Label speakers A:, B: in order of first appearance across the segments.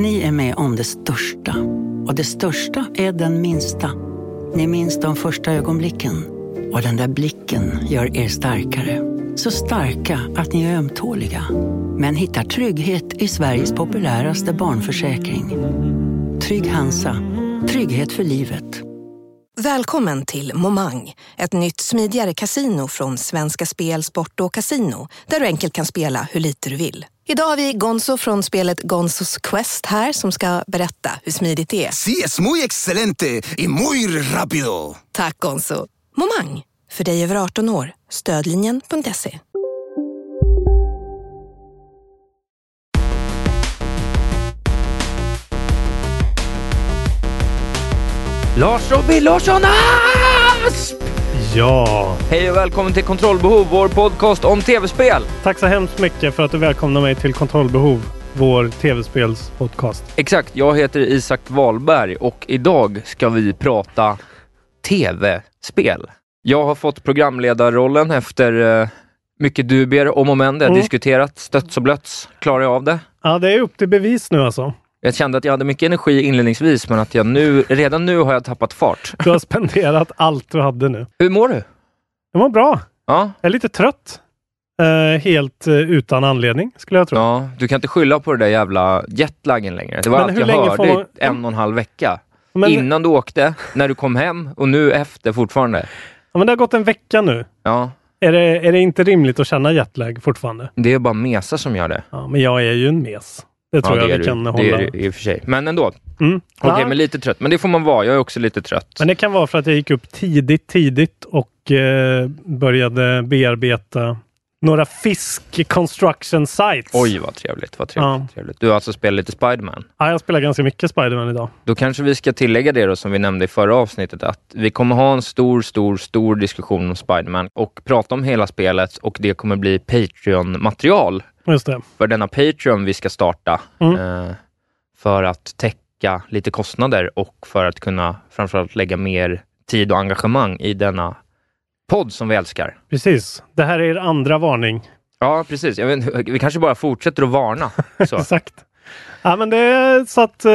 A: Ni är med om det största. Och det största är den minsta. Ni minns de första ögonblicken. Och den där blicken gör er starkare. Så starka att ni är ömtåliga. Men hittar trygghet i Sveriges populäraste barnförsäkring. Trygg Hansa. Trygghet för livet.
B: Välkommen till Momang, ett nytt smidigare casino från Svenska Spel, Sport och Casino där du enkelt kan spela hur lite du vill. Idag har vi Gonzo från spelet Gonzos Quest här som ska berätta hur smidigt det är.
C: Sí, es muy excelente y muy rápido.
B: Tack Gonzo! Momang, för dig över 18 år. Stödlinjen.se.
D: Lars Robin Larsson Asp!
E: Ja,
D: Hej och välkommen till Kontrollbehov, vår podcast om tv-spel.
E: tack så hemskt mycket för att du välkomnar mig till Kontrollbehov, vår tv-spelspodcast.
D: Exakt, jag heter Isak Wahlberg och idag ska vi prata tv-spel. Jag har fått programledarrollen efter eh, mycket dubier om och men. Det har
E: Mm.
D: diskuterat, stötts och blötts. Klarar jag av det?
E: Ja, det är upp till bevis nu alltså.
D: Jag kände att jag hade mycket energi inledningsvis, men att jag nu, redan nu har jag tappat fart.
E: Du har spenderat allt du hade nu.
D: Hur mår du?
E: Det var bra.
D: Ja,
E: Jag är lite trött. Eh, helt eh, utan anledning, skulle jag tro.
D: ja, du kan inte skylla på det där jävla jetlagen längre. Det var
E: Men
D: allt
E: hur
D: jag
E: länge
D: hörde
E: får
D: i
E: man-
D: en och en halv vecka.
E: Men,
D: Innan du åkte, när du kom hem och nu efter fortfarande.
E: ja, men det har gått en vecka nu.
D: Ja,
E: Är det, är det inte rimligt att känna jetlag fortfarande?
D: det är bara mesar som gör det.
E: Ja, men jag är ju en mes. Det tror
D: ja,
E: jag
D: är
E: vi
D: du.
E: kan hålla.
D: Det är du i och för sig. Men ändå. Okej,
E: Mm. Ja.
D: men lite trött. Men det får man vara. Jag är också lite trött.
E: Men det kan vara för att jag gick upp tidigt, tidigt och eh, började bearbeta några fisk construction sites.
D: Oj, vad trevligt. Vad trevligt,
E: Ja.
D: trevligt. Du har alltså spelat lite Spiderman.
E: Ja, jag spelar ganska mycket Spiderman idag.
D: Då kanske vi ska tillägga det då som vi nämnde i förra avsnittet, att vi kommer ha en stor, stor, stor diskussion om Spiderman och prata om hela spelet och det kommer bli Patreon-material
E: Just det.
D: för denna Patreon vi ska starta
E: Mm.
D: eh, för att täcka lite kostnader och för att kunna framförallt lägga mer tid och engagemang i denna podd som vi älskar.
E: Precis. Det här är er andra varning.
D: Ja, precis. Jag vet, inte, vi kanske bara fortsätter att varna. Så.
E: Exakt. Ja, men det är så att, eh,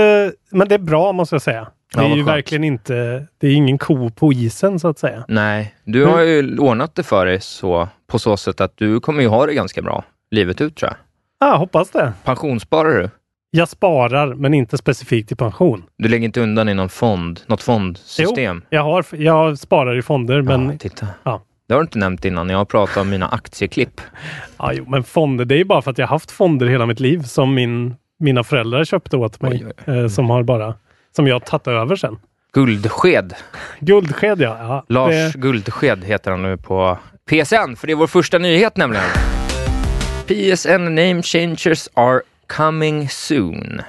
E: men det är bra måste jag säga. Det
D: Ja,
E: är
D: vad
E: ju
D: skönt.
E: verkligen inte, det är ingen ko på isen så att säga.
D: Nej, du har ju ordnat det för dig så, på så sätt att du kommer ju ha det ganska bra livet ut tror jag.
E: Ja, hoppas det.
D: Pensionssparar du?
E: Jag sparar, men inte specifikt i pension.
D: Du lägger inte undan i någon fond, något fondsystem?
E: Jo, jag, har, jag sparar i fonder,
D: ja,
E: men,
D: titta.
E: Ja.
D: Det har du inte nämnt innan. Jag har pratat om mina aktieklipp.
E: ja, jo, men fonder, det är ju bara för att jag har haft fonder hela mitt liv som min, mina föräldrar köpte åt mig.
D: Oj, oj,
E: Eh, som har bara, som jag har tagit över sen.
D: Guldsked.
E: Guldsked ja. ja
D: Lars
E: det-
D: Guldsked heter han nu på PSN, för det är vår första nyhet nämligen. PSN name changers are coming soon.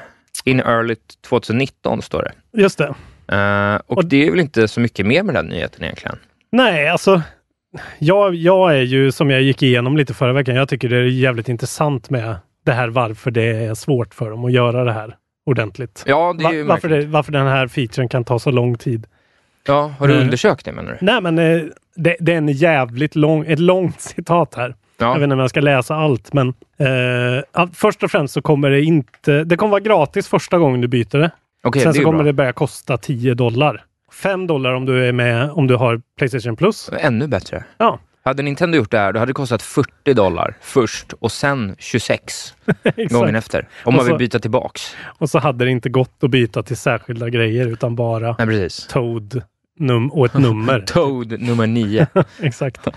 D: In early 2019 står det.
E: Just det.
D: Eh, och,
E: Och-
D: det är väl inte så mycket mer med den nyheten egentligen.
E: Nej, alltså. Jag, jag är ju, som jag gick igenom lite förra veckan, jag tycker det är jävligt intressant med det här varför det är svårt för dem att göra det här ordentligt.
D: Ja, det är
E: Va,
D: ju
E: varför,
D: märkligt.
E: det, varför den här featuren kan ta så lång tid.
D: Ja, har du
E: Mm.
D: undersökt det menar du?
E: Nej, men eh, det, det är en jävligt lång, ett långt citat här. Jag vet
D: Ja.
E: inte om jag ska läsa allt, men eh, ja, först och främst så kommer det inte... Det kommer vara gratis första gången du byter det.
D: Okej, det
E: Sen
D: är
E: så
D: ju
E: kommer
D: bra.
E: det börja kosta 10 dollar. 5 dollar om du är med om du har Playstation Plus.
D: Ännu bättre.
E: Ja,
D: Hade Nintendo gjort det här, då hade det kostat 40 dollar först och sen 26 gången
E: exakt.
D: efter. Om
E: Och
D: man vill
E: så-
D: byta tillbaks.
E: Och så hade det inte gått att byta till särskilda grejer utan bara
D: Nej, precis.
E: Toad num- och ett nummer.
D: Toad nummer 9.
E: Exakt. Eh,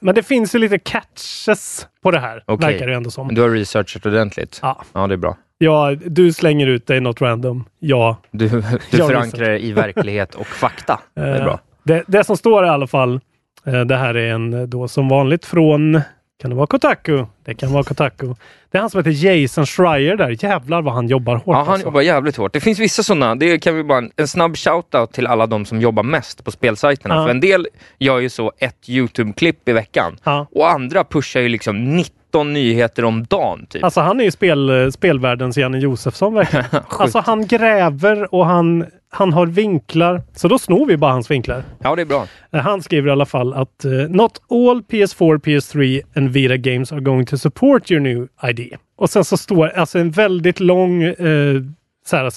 E: men det finns ju lite catches på det här,
D: Okej.
E: verkar det ändå som.
D: Du har researchat ordentligt.
E: Ja.
D: Ja, det är bra.
E: Ja, du slänger ut dig något random. Ja,
D: Du, du
E: Jag
D: förankrar det i verklighet och fakta. Det är
E: Eh,
D: bra.
E: Det, det som står i alla fall, eh, det här är en eh, då som vanligt från Kan det vara Kotaku? Det kan vara Kotaku. Det är han som heter Jason Schreier där. Jävlar vad han jobbar hårt.
D: Ja, han
E: alltså.
D: jobbar jävligt hårt. Det finns vissa sådana. Det kan vi bara en, en snabb shoutout till alla de som jobbar mest på spelsajterna.
E: Ja.
D: För en del gör ju så ett YouTube-klipp i veckan
E: Ja.
D: och andra pushar ju liksom 19 nyheter om dagen. Typ.
E: Alltså han är ju spel, spelvärldens Janne Josefsson verkligen. alltså han gräver och han, han har vinklar. Så då snor vi bara hans vinklar.
D: Ja, det är bra.
E: Eh, Han skriver i alla fall att eh, Not all PS4, PS3 and Vita games are going to support your new ID. Och sen så står alltså en väldigt lång eh, så här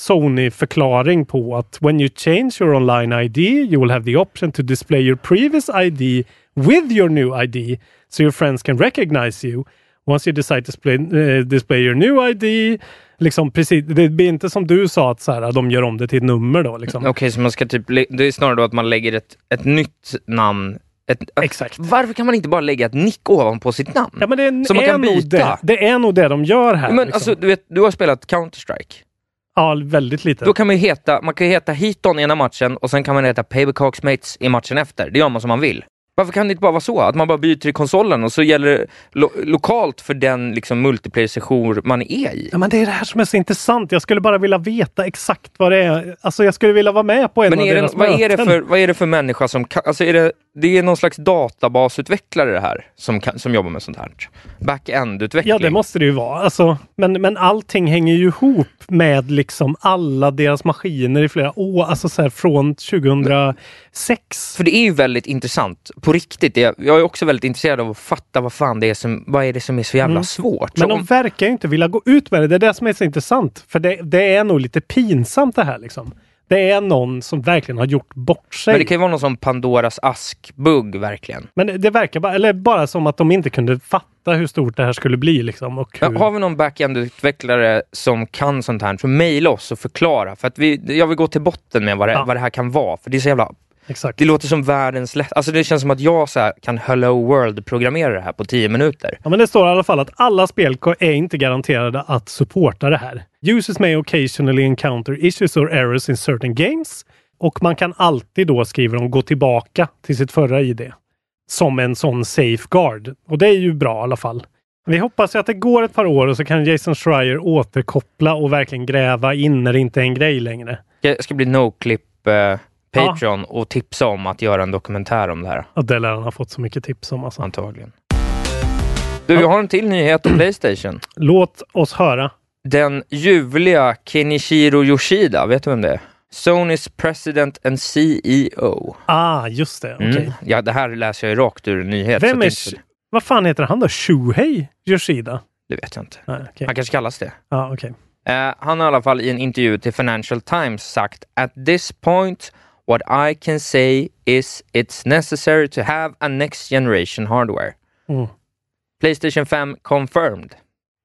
E: Sony-förklaring på att When you change your online ID you will have the option to display your previous ID with your new ID so your friends can recognize you. Once you decide to display, eh, display your new ID Liksom precis, det blir inte som du sa att så här, de gör om det till ett nummer då. Liksom.
D: Okej, så man ska typ... lä- Det är snarare då att man lägger ett, ett nytt namn. Ett,
E: Exakt.
D: Varför kan man inte bara lägga ett nick ovanpå sitt namn?
E: Ja, men det är,
D: Som man
E: är
D: kan
E: nog
D: byta.
E: Det, det är nog det de gör här.
D: Men
E: liksom.
D: alltså, du, vet, du har spelat Counter-Strike.
E: ja, väldigt lite.
D: Då kan man ju heta, man kan ju heta Heaton ena matchen och sen kan man heta Papercocks Mates i matchen efter. Det gör man som man vill. Varför kan det inte bara vara så? Att man bara byter i konsolen och så gäller det lo- lokalt för den liksom, multiplayer-session man är i.
E: ja, men det är det här som är så intressant. Jag skulle bara vilja veta exakt vad det är. Alltså, jag skulle vilja vara med på en
D: Men
E: av
D: är det,
E: deras
D: vad, är det
E: möten.
D: för, vad är det för människa som kan, alltså är det, det är någon slags databasutvecklare det här som, kan, som jobbar med sånt här. Back-end-utveckling.
E: Ja, det måste det ju vara. Alltså, men, men allting hänger ju ihop med liksom alla deras maskiner i flera år. Alltså så här, från 2006.
D: För det är ju väldigt intressant, på riktigt. Jag, jag är också väldigt intresserad av att fatta vad fan det är som, vad är det som är så jävla svårt. Så
E: Mm. Men de
D: om-
E: verkar ju inte vilja gå ut med det. Det är det som är så intressant. För det, det är nog lite pinsamt det här liksom. Det är någon som verkligen har gjort bort sig.
D: Men det kan ju vara någon sån Pandoras ask-bugg verkligen.
E: Men det verkar bara, eller bara som att de inte kunde fatta hur stort det här skulle bli liksom. Och
D: Ja,
E: hur...
D: har vi någon backend-utvecklare som kan sånt här, så mejla oss och förklara. För att vi, jag vill gå till botten med vad det,
E: Ja.
D: vad det här kan vara. För det är så jävla...
E: Exakt.
D: Det låter som världens lätt... Alltså det känns som att jag så här, kan Hello World-programmera det här på 10 minuter.
E: Ja, men det står i alla fall att alla spel ko- är inte garanterade att supporta det här. Users may occasionally encounter issues or errors in certain games. Och man kan alltid då, skriver de, gå tillbaka till sitt förra ID. Som en sån safeguard. Och det är ju bra i alla fall. Vi hoppas ju att det går ett par år och så kan Jason Schreier återkoppla och verkligen gräva in när det inte är en grej längre.
D: Jag ska bli no-clip eh, Patreon och tipsa om att göra en dokumentär om det här,
E: Och det lär han ha fått så mycket tips om alltså.
D: antagligen. Du, vi har en till nyhet om Playstation.
E: Låt oss höra.
D: den ljuvliga Kenichiro Yoshida, vet du vem det är? Sonys president and CEO.
E: Ah, just det. Okej.
D: Mm. Ja, det här läser jag ju rakt ur en nyhet.
E: Vem
D: så
E: är...
D: tänkte-
E: Vad fan heter han då? Shuhei Yoshida?
D: Det vet jag inte.
E: Nej, okej.
D: Han kanske kallas det.
E: Ja, okej.
D: Eh, han har i alla fall i en intervju till Financial Times sagt At this point what I can say is it's necessary to have a next generation hardware.
E: Mm.
D: Playstation 5 confirmed.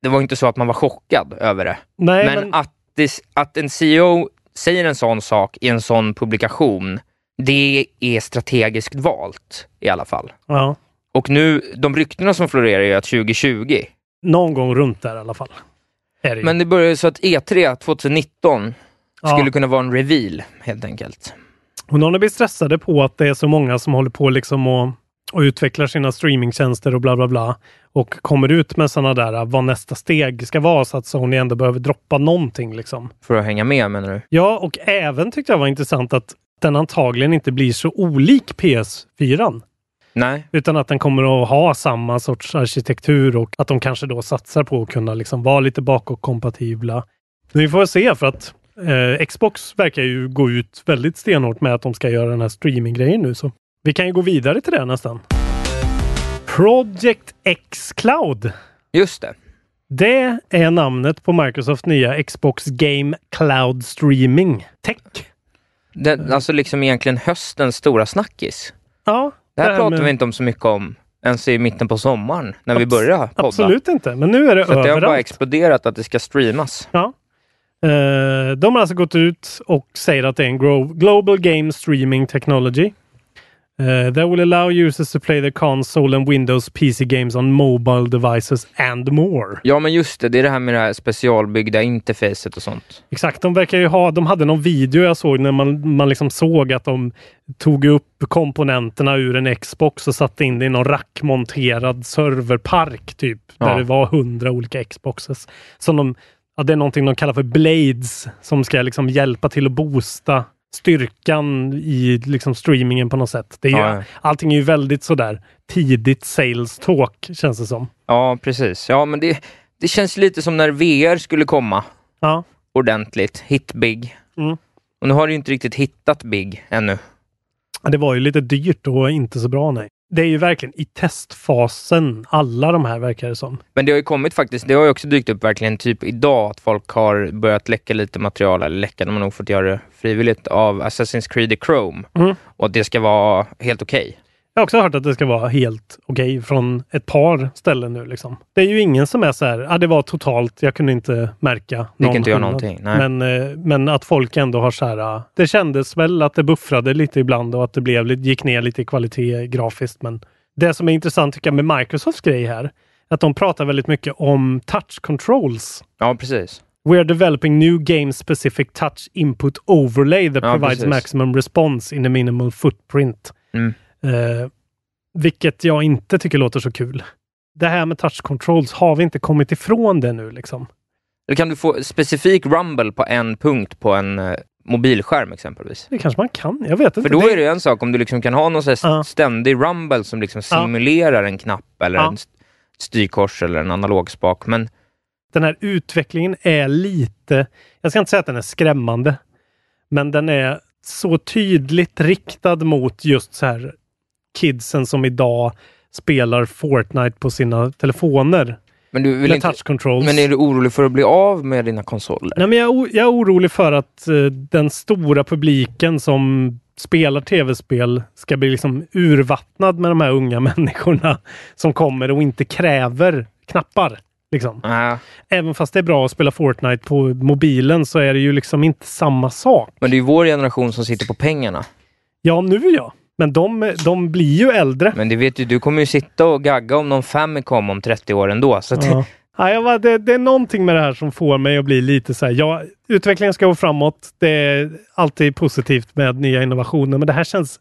D: Det var inte så att man var chockad över det.
E: Nej,
D: men ah.
E: men,
D: att, det, att en CEO säger en sån sak i en sån publikation, det är strategiskt valt i alla fall.
E: ja,
D: Och nu, de ryktena som florerar är ju att 2020,
E: någon gång runt där i alla fall. Är det ju.
D: men det börjar ju så att E3 2019
E: Ja.
D: skulle kunna vara en reveal helt enkelt.
E: Och någon blir stressade på att det är så många som håller på liksom och, och utvecklar sina streamingtjänster och bla bla bla. Och kommer ut med sådana där, ah, vad nästa steg ska vara så att Sony ändå behöver droppa någonting liksom.
D: För att hänga med menar du?
E: Ja, och även tyckte jag var intressant att den antagligen inte blir så olik PS4.
D: Nej,
E: Utan att den kommer att ha samma sorts arkitektur och att de kanske då satsar på att kunna liksom vara lite bakåtkompatibla. Men vi får väl se för att eh, Xbox verkar ju gå ut väldigt stenhårt med att de ska göra den här streaminggrejen nu. Så vi kan ju gå vidare till det nästan. Project X Cloud.
D: just det.
E: Det är namnet på Microsofts nya Xbox Game Cloud Streaming Tech. Mm.
D: Den, alltså liksom egentligen höstens stora snackis.
E: Ja,
D: Det här pratar
E: med-
D: vi inte om så mycket om ens i mitten på sommaren när vi
E: Abs-
D: började podda.
E: Absolut inte, men nu är det
D: Så att det har bara
E: överallt.
D: exploderat att det ska streamas.
E: Ja. Eh, de har alltså gått ut och säger att det är en gro- Global Game Streaming Technology. Uh, that will allow users to play their console and Windows PC games on mobile devices and more.
D: Ja, men just det. Det är det här med det här specialbyggda interfacet och sånt.
E: Exakt, de verkar ju ha, de hade någon video jag såg när man, man liksom såg att de tog upp komponenterna ur en Xbox och satte in det i någon rackmonterad serverpark typ. Där
D: Ja.
E: det var hundra olika Xboxes. Som de, ja, det är någonting de kallar för Blades som ska liksom hjälpa till att boosta styrkan i liksom streamingen på något sätt. Det är ju,
D: Ja, ja.
E: Allting är ju väldigt sådär tidigt sales talk känns det som.
D: Ja, precis. Ja, men det, det känns lite som när VR skulle komma
E: Ja,
D: ordentligt. Hit big.
E: Mm.
D: Och nu har det ju inte riktigt hittat big ännu.
E: Ja, Det var ju lite dyrt och inte så bra, nej. Det är ju verkligen i testfasen, alla de här verkar det som.
D: Men det har ju kommit faktiskt, det har ju också dykt upp verkligen typ idag att folk har börjat läcka lite material, eller läcka, de har nog fått göra det frivilligt, av Assassin's Creed i Chrome.
E: Mm.
D: Och att det ska vara helt okej.
E: Jag har också hört att det ska vara helt okej från ett par ställen nu. Liksom. Det är ju ingen som är så här, ah, det var totalt, jag kunde inte märka någon
D: Det gick inte att göra
E: skillnad."
D: någonting, nej.
E: Men, eh, men att folk ändå har så här, ah, det kändes väl att det buffrade lite ibland och att det blev, lite- gick ner lite i kvalitet grafiskt. Men det som är intressant tycker jag med Microsofts grej här, att de pratar väldigt mycket om touch controls.
D: Ja, precis.
E: We are developing new game-specific touch input overlay that
D: Ja,
E: provides
D: precis.
E: maximum response in a minimal footprint.
D: Mm.
E: Eh, vilket jag inte tycker låter så kul. Det här med touch controls, har vi inte kommit ifrån det nu liksom?
D: Eller kan du få specifik rumble på en punkt på en eh, mobilskärm exempelvis?
E: Det kanske man kan, jag vet inte.
D: För då är det ju en sak om du liksom kan ha någon sån här
E: Ja.
D: ständig rumble som liksom
E: Ja.
D: simulerar en knapp eller
E: Ja.
D: en st- styrkors eller en analog spak. Men
E: Den här utvecklingen är lite, jag ska inte säga att den är skrämmande, men den är så tydligt riktad mot just så här kidsen som idag spelar Fortnite på sina telefoner.
D: Men du vill
E: Eller
D: inte...
E: touch controls.
D: Men är du orolig för att bli av med dina konsoler?
E: Nej, men jag, är o- jag är orolig för att eh, den stora publiken som spelar tv-spel ska bli liksom urvattnad med de här unga människorna som kommer och inte kräver knappar. Liksom.
D: Nej,
E: Även fast det är bra att spela Fortnite på mobilen så är det ju liksom inte samma sak.
D: men det är ju vår generation som sitter på pengarna.
E: Ja, nu ja. Men de, de blir ju äldre.
D: Men det vet ju, du kommer ju sitta och gagga om någon Famicom om 30 år ändå. Så att,
E: Ja. Ja, jag bara, det, det är någonting med det här som får mig att bli lite så här. Ja, utvecklingen ska gå framåt. Det är alltid positivt med nya innovationer, men det här känns...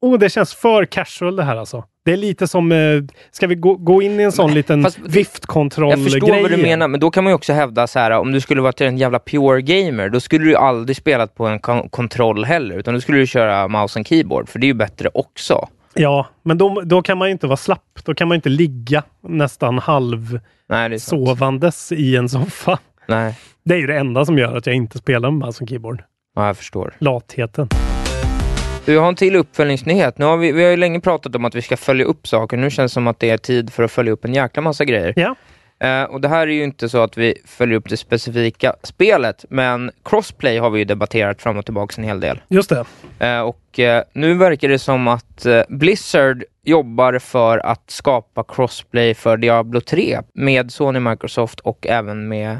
E: Oh, det känns för casual det här alltså. Det är lite som... Eh, ska vi gå, gå in i en sån liten
D: fast- jag
E: viftkontroll-grej?
D: förstår vad du
E: igen?
D: menar, men då kan man ju också hävda så här, om du skulle vara en jävla pure gamer, då skulle du ju aldrig spelat på en kon- kontroll heller, utan då skulle du köra mouse och keyboard, för det är ju bättre också.
E: Ja, men då, då kan man ju inte vara slapp. Då kan man ju inte ligga nästan
D: Nej, det är sant.
E: halvsovandes i en soffa.
D: Nej,
E: Det är ju det enda som gör att jag inte spelar med mouse och keyboard.
D: ja, jag förstår.
E: Latheten.
D: Du jag har en till uppföljningsnyhet. Nu har vi, vi har ju länge pratat om att vi ska följa upp saker, nu känns det som att det är tid för att följa upp en jäkla massa grejer.
E: Ja.
D: Eh, och det här är ju inte så att vi följer upp det specifika spelet, men crossplay har vi ju debatterat fram och tillbaka en hel del.
E: Just det.
D: Eh, och eh, nu verkar det som att eh, Blizzard jobbar för att skapa crossplay för Diablo 3 med Sony, Microsoft och även med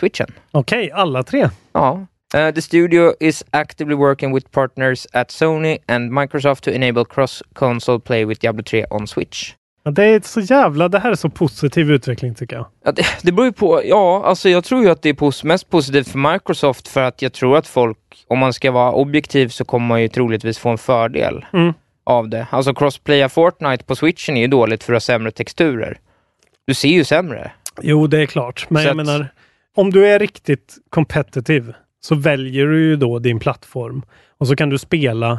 D: Switchen.
E: Okej, alla tre.
D: Ja. Eh, the studio is actively working with partners at Sony and Microsoft to enable cross-console play with Diablo 3 on Switch.
E: Ja, det är så jävla, det här är så positiv utveckling tycker jag.
D: Ja, det, det beror ju på. Ja, alltså jag tror ju att det är pos- mest positivt för Microsoft för att jag tror att folk, om man ska vara objektiv, så kommer man ju troligtvis få en fördel
E: Mm.
D: av det. Alltså crossplaya Fortnite på switchen är ju dåligt för att ha sämre texturer. Du ser ju sämre.
E: Jo, det är klart. Men
D: Så
E: jag
D: att-
E: menar, om du är riktigt competitive så väljer du ju då din plattform och så kan du spela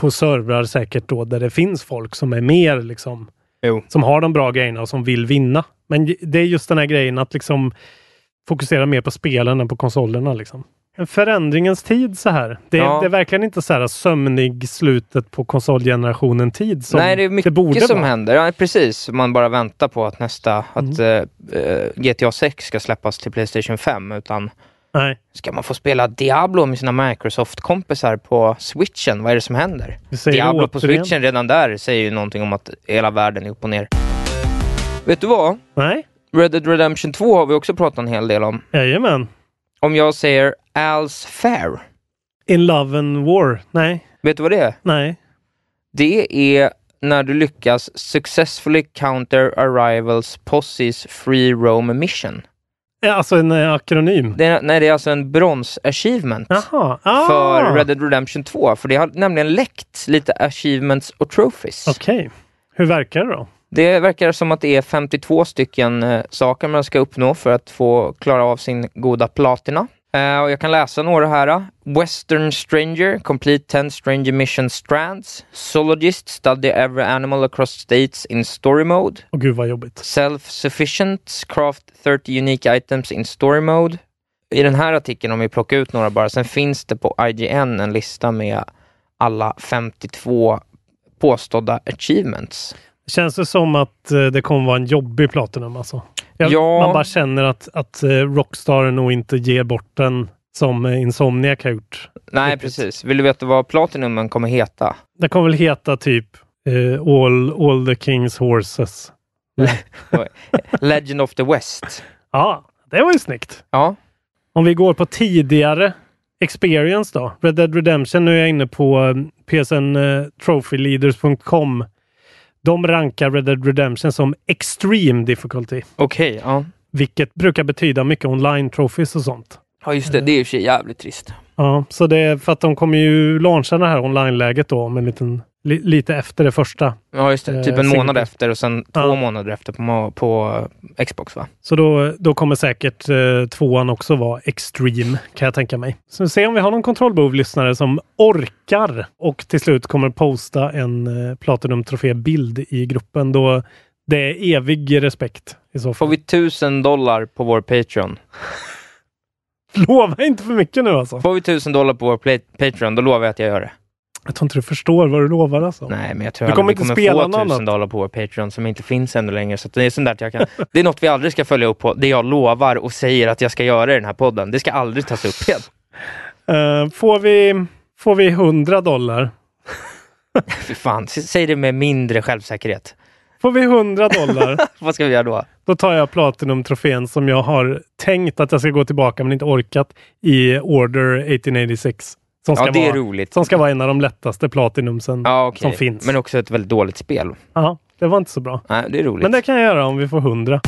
E: på servrar säkert då där det finns folk som är mer liksom,
D: Jo.
E: som har de bra grejerna och som vill vinna. Men j- det är just den här grejen att liksom fokusera mer på spelen än på konsolerna liksom. En förändringens tid så här. Det, är-
D: Ja.
E: det är verkligen inte så här sömnig slutet på konsolgenerationen tid som
D: Nej, det är mycket
E: borde
D: som
E: vara.
D: händer. Ja, precis. Man bara väntar på att nästa, att
E: Mm.
D: eh, eh, GTA 6 ska släppas till Playstation 5, utan
E: Nej,
D: ska man få spela Diablo med sina Microsoft-kompisar på switchen? Vad är det som händer?
E: vi säger det
D: Diablo på
E: återigen.
D: switchen redan där säger ju någonting om att hela världen är upp och ner. Vet du vad?
E: Nej,
D: Red Dead Redemption 2 har vi också pratat en hel del om.
E: jajamän.
D: Om jag säger Al's Fair,
E: In Love and War. Nej,
D: vet du vad det är?
E: nej.
D: Det är när du lyckas successfully counter arrivals posses free roam mission.
E: Eh, Alltså en eh, akronym.
D: Det är, nej, det är alltså en brons-achievement
E: Jaha. Ah.
D: för Red Dead Redemption 2, för det har nämligen läckt lite achievements och trophies.
E: Okej. Hur verkar det då?
D: Det verkar som att det är 52 stycken eh, saker man ska uppnå för att få klara av sin goda platina. Eh, och jag kan läsa några här. eh. Western Stranger, Complete 10 Stranger Mission Strands. Zoologist, Study Every Animal Across States in Story Mode.
E: Åh gud vad jobbigt.
D: Self-sufficient, craft 30 unique items in story mode. I den här artikeln, om vi plockar ut några bara, sen finns det på IGN en lista med alla 52 påstådda achievements.
E: Känns det som att eh, det kommer vara en jobbig Platinum alltså? Jag,
D: Ja.
E: Man bara känner att, att eh, Rockstar nog inte ger bort den som eh, Insomniac har gjort.
D: Nej,
E: Riktigt.
D: precis. Vill du veta vad platinumen kommer heta?
E: Det kommer väl heta typ eh, all, all the Kings Horses.
D: Legend of the West.
E: Ja, det var ju snyggt.
D: Ja,
E: Om vi går på tidigare experience då. Red Dead Redemption, nu är jag inne på eh, PSN eh, trophyleaders.com. De rankar Red Dead Redemption som extreme difficulty,
D: okej. ja.
E: vilket brukar betyda mycket online trophies och sånt.
D: ja, just det. Det är ju och för sig jävligt trist.
E: Ja, så det är för att de kommer ju launcha det här online-läget då om en liten, li, lite efter det första.
D: Ja, just det. Typ
E: Eh,
D: en månad
E: single-
D: efter och sen två
E: Ja.
D: månader efter på, ma- på eh, Xbox, va?
E: Så då, då kommer säkert eh, tvåan också vara extreme, kan jag tänka mig. Så vi ser om vi har någon kontrollbehov-lyssnare som orkar och till slut kommer posta en eh, Platinum Trofé-bild i gruppen. Då det är evig respekt i så
D: Får
E: fall.
D: vi tusen dollar på vår Patreon?
E: Lova inte för mycket nu alltså.
D: Får vi tusen dollar på vår pla- Patreon, då lovar jag att jag gör det.
E: Jag tror inte du förstår vad du lovar alltså.
D: Nej, men jag tror
E: Du
D: aldrig
E: kommer
D: vi
E: inte
D: kommer
E: spela
D: få
E: något
D: tusen
E: annat.
D: dollar på vår Patreon som inte finns ännu längre. Så att det är sånt där att jag kan... Det är något vi aldrig ska följa upp på. Det jag lovar och säger att jag ska göra i den här podden. Det ska aldrig tas upp igen.
E: Eh, får, vi, får vi 100 dollar?
D: Fy fan, s- säg det med mindre självsäkerhet.
E: Får vi 100 dollar?
D: Vad ska vi göra då?
E: Då tar jag Platinum-trofén som jag har tänkt att jag ska gå tillbaka men inte orkat i Order 1886. Som ska,
D: Ja, det är
E: vara,
D: roligt.
E: som ska vara en av de lättaste Platinumsen
D: Ja, okej.
E: som finns.
D: Men också ett väldigt dåligt spel.
E: ja, det var inte så bra.
D: Nej, det är roligt.
E: Men det kan jag göra om vi får 100.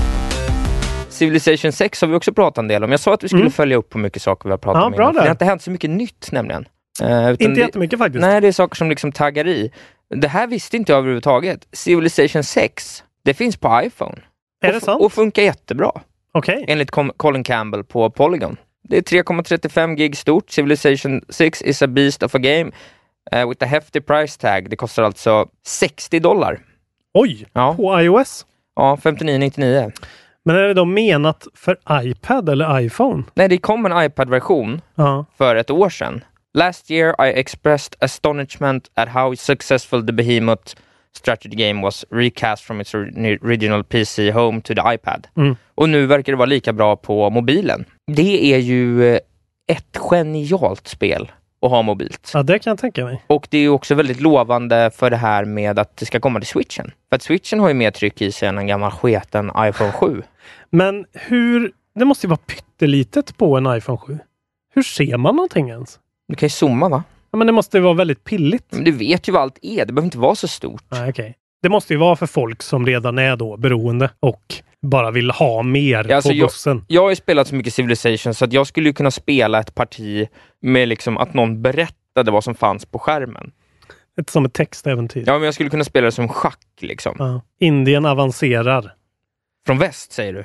D: Civilization 6 har vi också pratat en del om. Jag sa att vi skulle följa upp på mycket saker vi har pratat
E: Mm. Ja,
D: om
E: bra
D: innan. för
E: där.
D: Det har inte hänt så mycket nytt nämligen. Eh, utan
E: inte
D: det-
E: jättemycket faktiskt.
D: Nej, det är saker som liksom taggar i. Det här visste inte jag överhuvudtaget. Civilization 6, det finns på iPhone.
E: är
D: och,
E: det
D: f-
E: sant?
D: Och funkar jättebra,
E: Okej.
D: enligt Com- Colin Campbell på Polygon. Det är 3,35 gig stort. Civilization 6 is a beast of a game eh, with a hefty price tag. Det kostar alltså 60 dollar.
E: Oj,
D: Ja,
E: på iOS.
D: ja 59,99.
E: Men är det då menat för iPad eller iPhone?
D: Nej, det kom en iPad-version
E: Ja.
D: för ett år sedan. Last year I expressed astonishment at how successful the behemoth strategy game was recast from its ori- original PC home to the iPad.
E: Mm.
D: Och nu verkar det vara lika bra på mobilen. Det är ju eh, ett genialt spel att ha mobilt.
E: ja, det kan jag tänka mig.
D: Och det är ju också väldigt lovande för det här med att det ska komma till switchen. För att switchen har ju mer tryck i sig än en gammal sketen iPhone 7.
E: Men hur... Det måste ju vara pyttelitet på en iPhone 7. Hur ser man någonting ens?
D: Du kan ju zooma va?
E: Ja, men det måste ju vara väldigt pilligt.
D: Men du vet ju vad allt är, det behöver inte vara så stort.
E: Nej, Ah, okej. Det måste ju vara för folk som redan är då beroende och bara vill ha mer
D: Ja, alltså,
E: på
D: jag-
E: bussen.
D: Jag har ju spelat så mycket Civilization så att jag skulle ju kunna spela ett parti med liksom att någon berättade vad som fanns på skärmen.
E: Ett, som ett textäventyr.
D: Ja, men jag skulle kunna spela det som schack liksom.
E: Ja. Indien avancerar
D: Från väst säger du?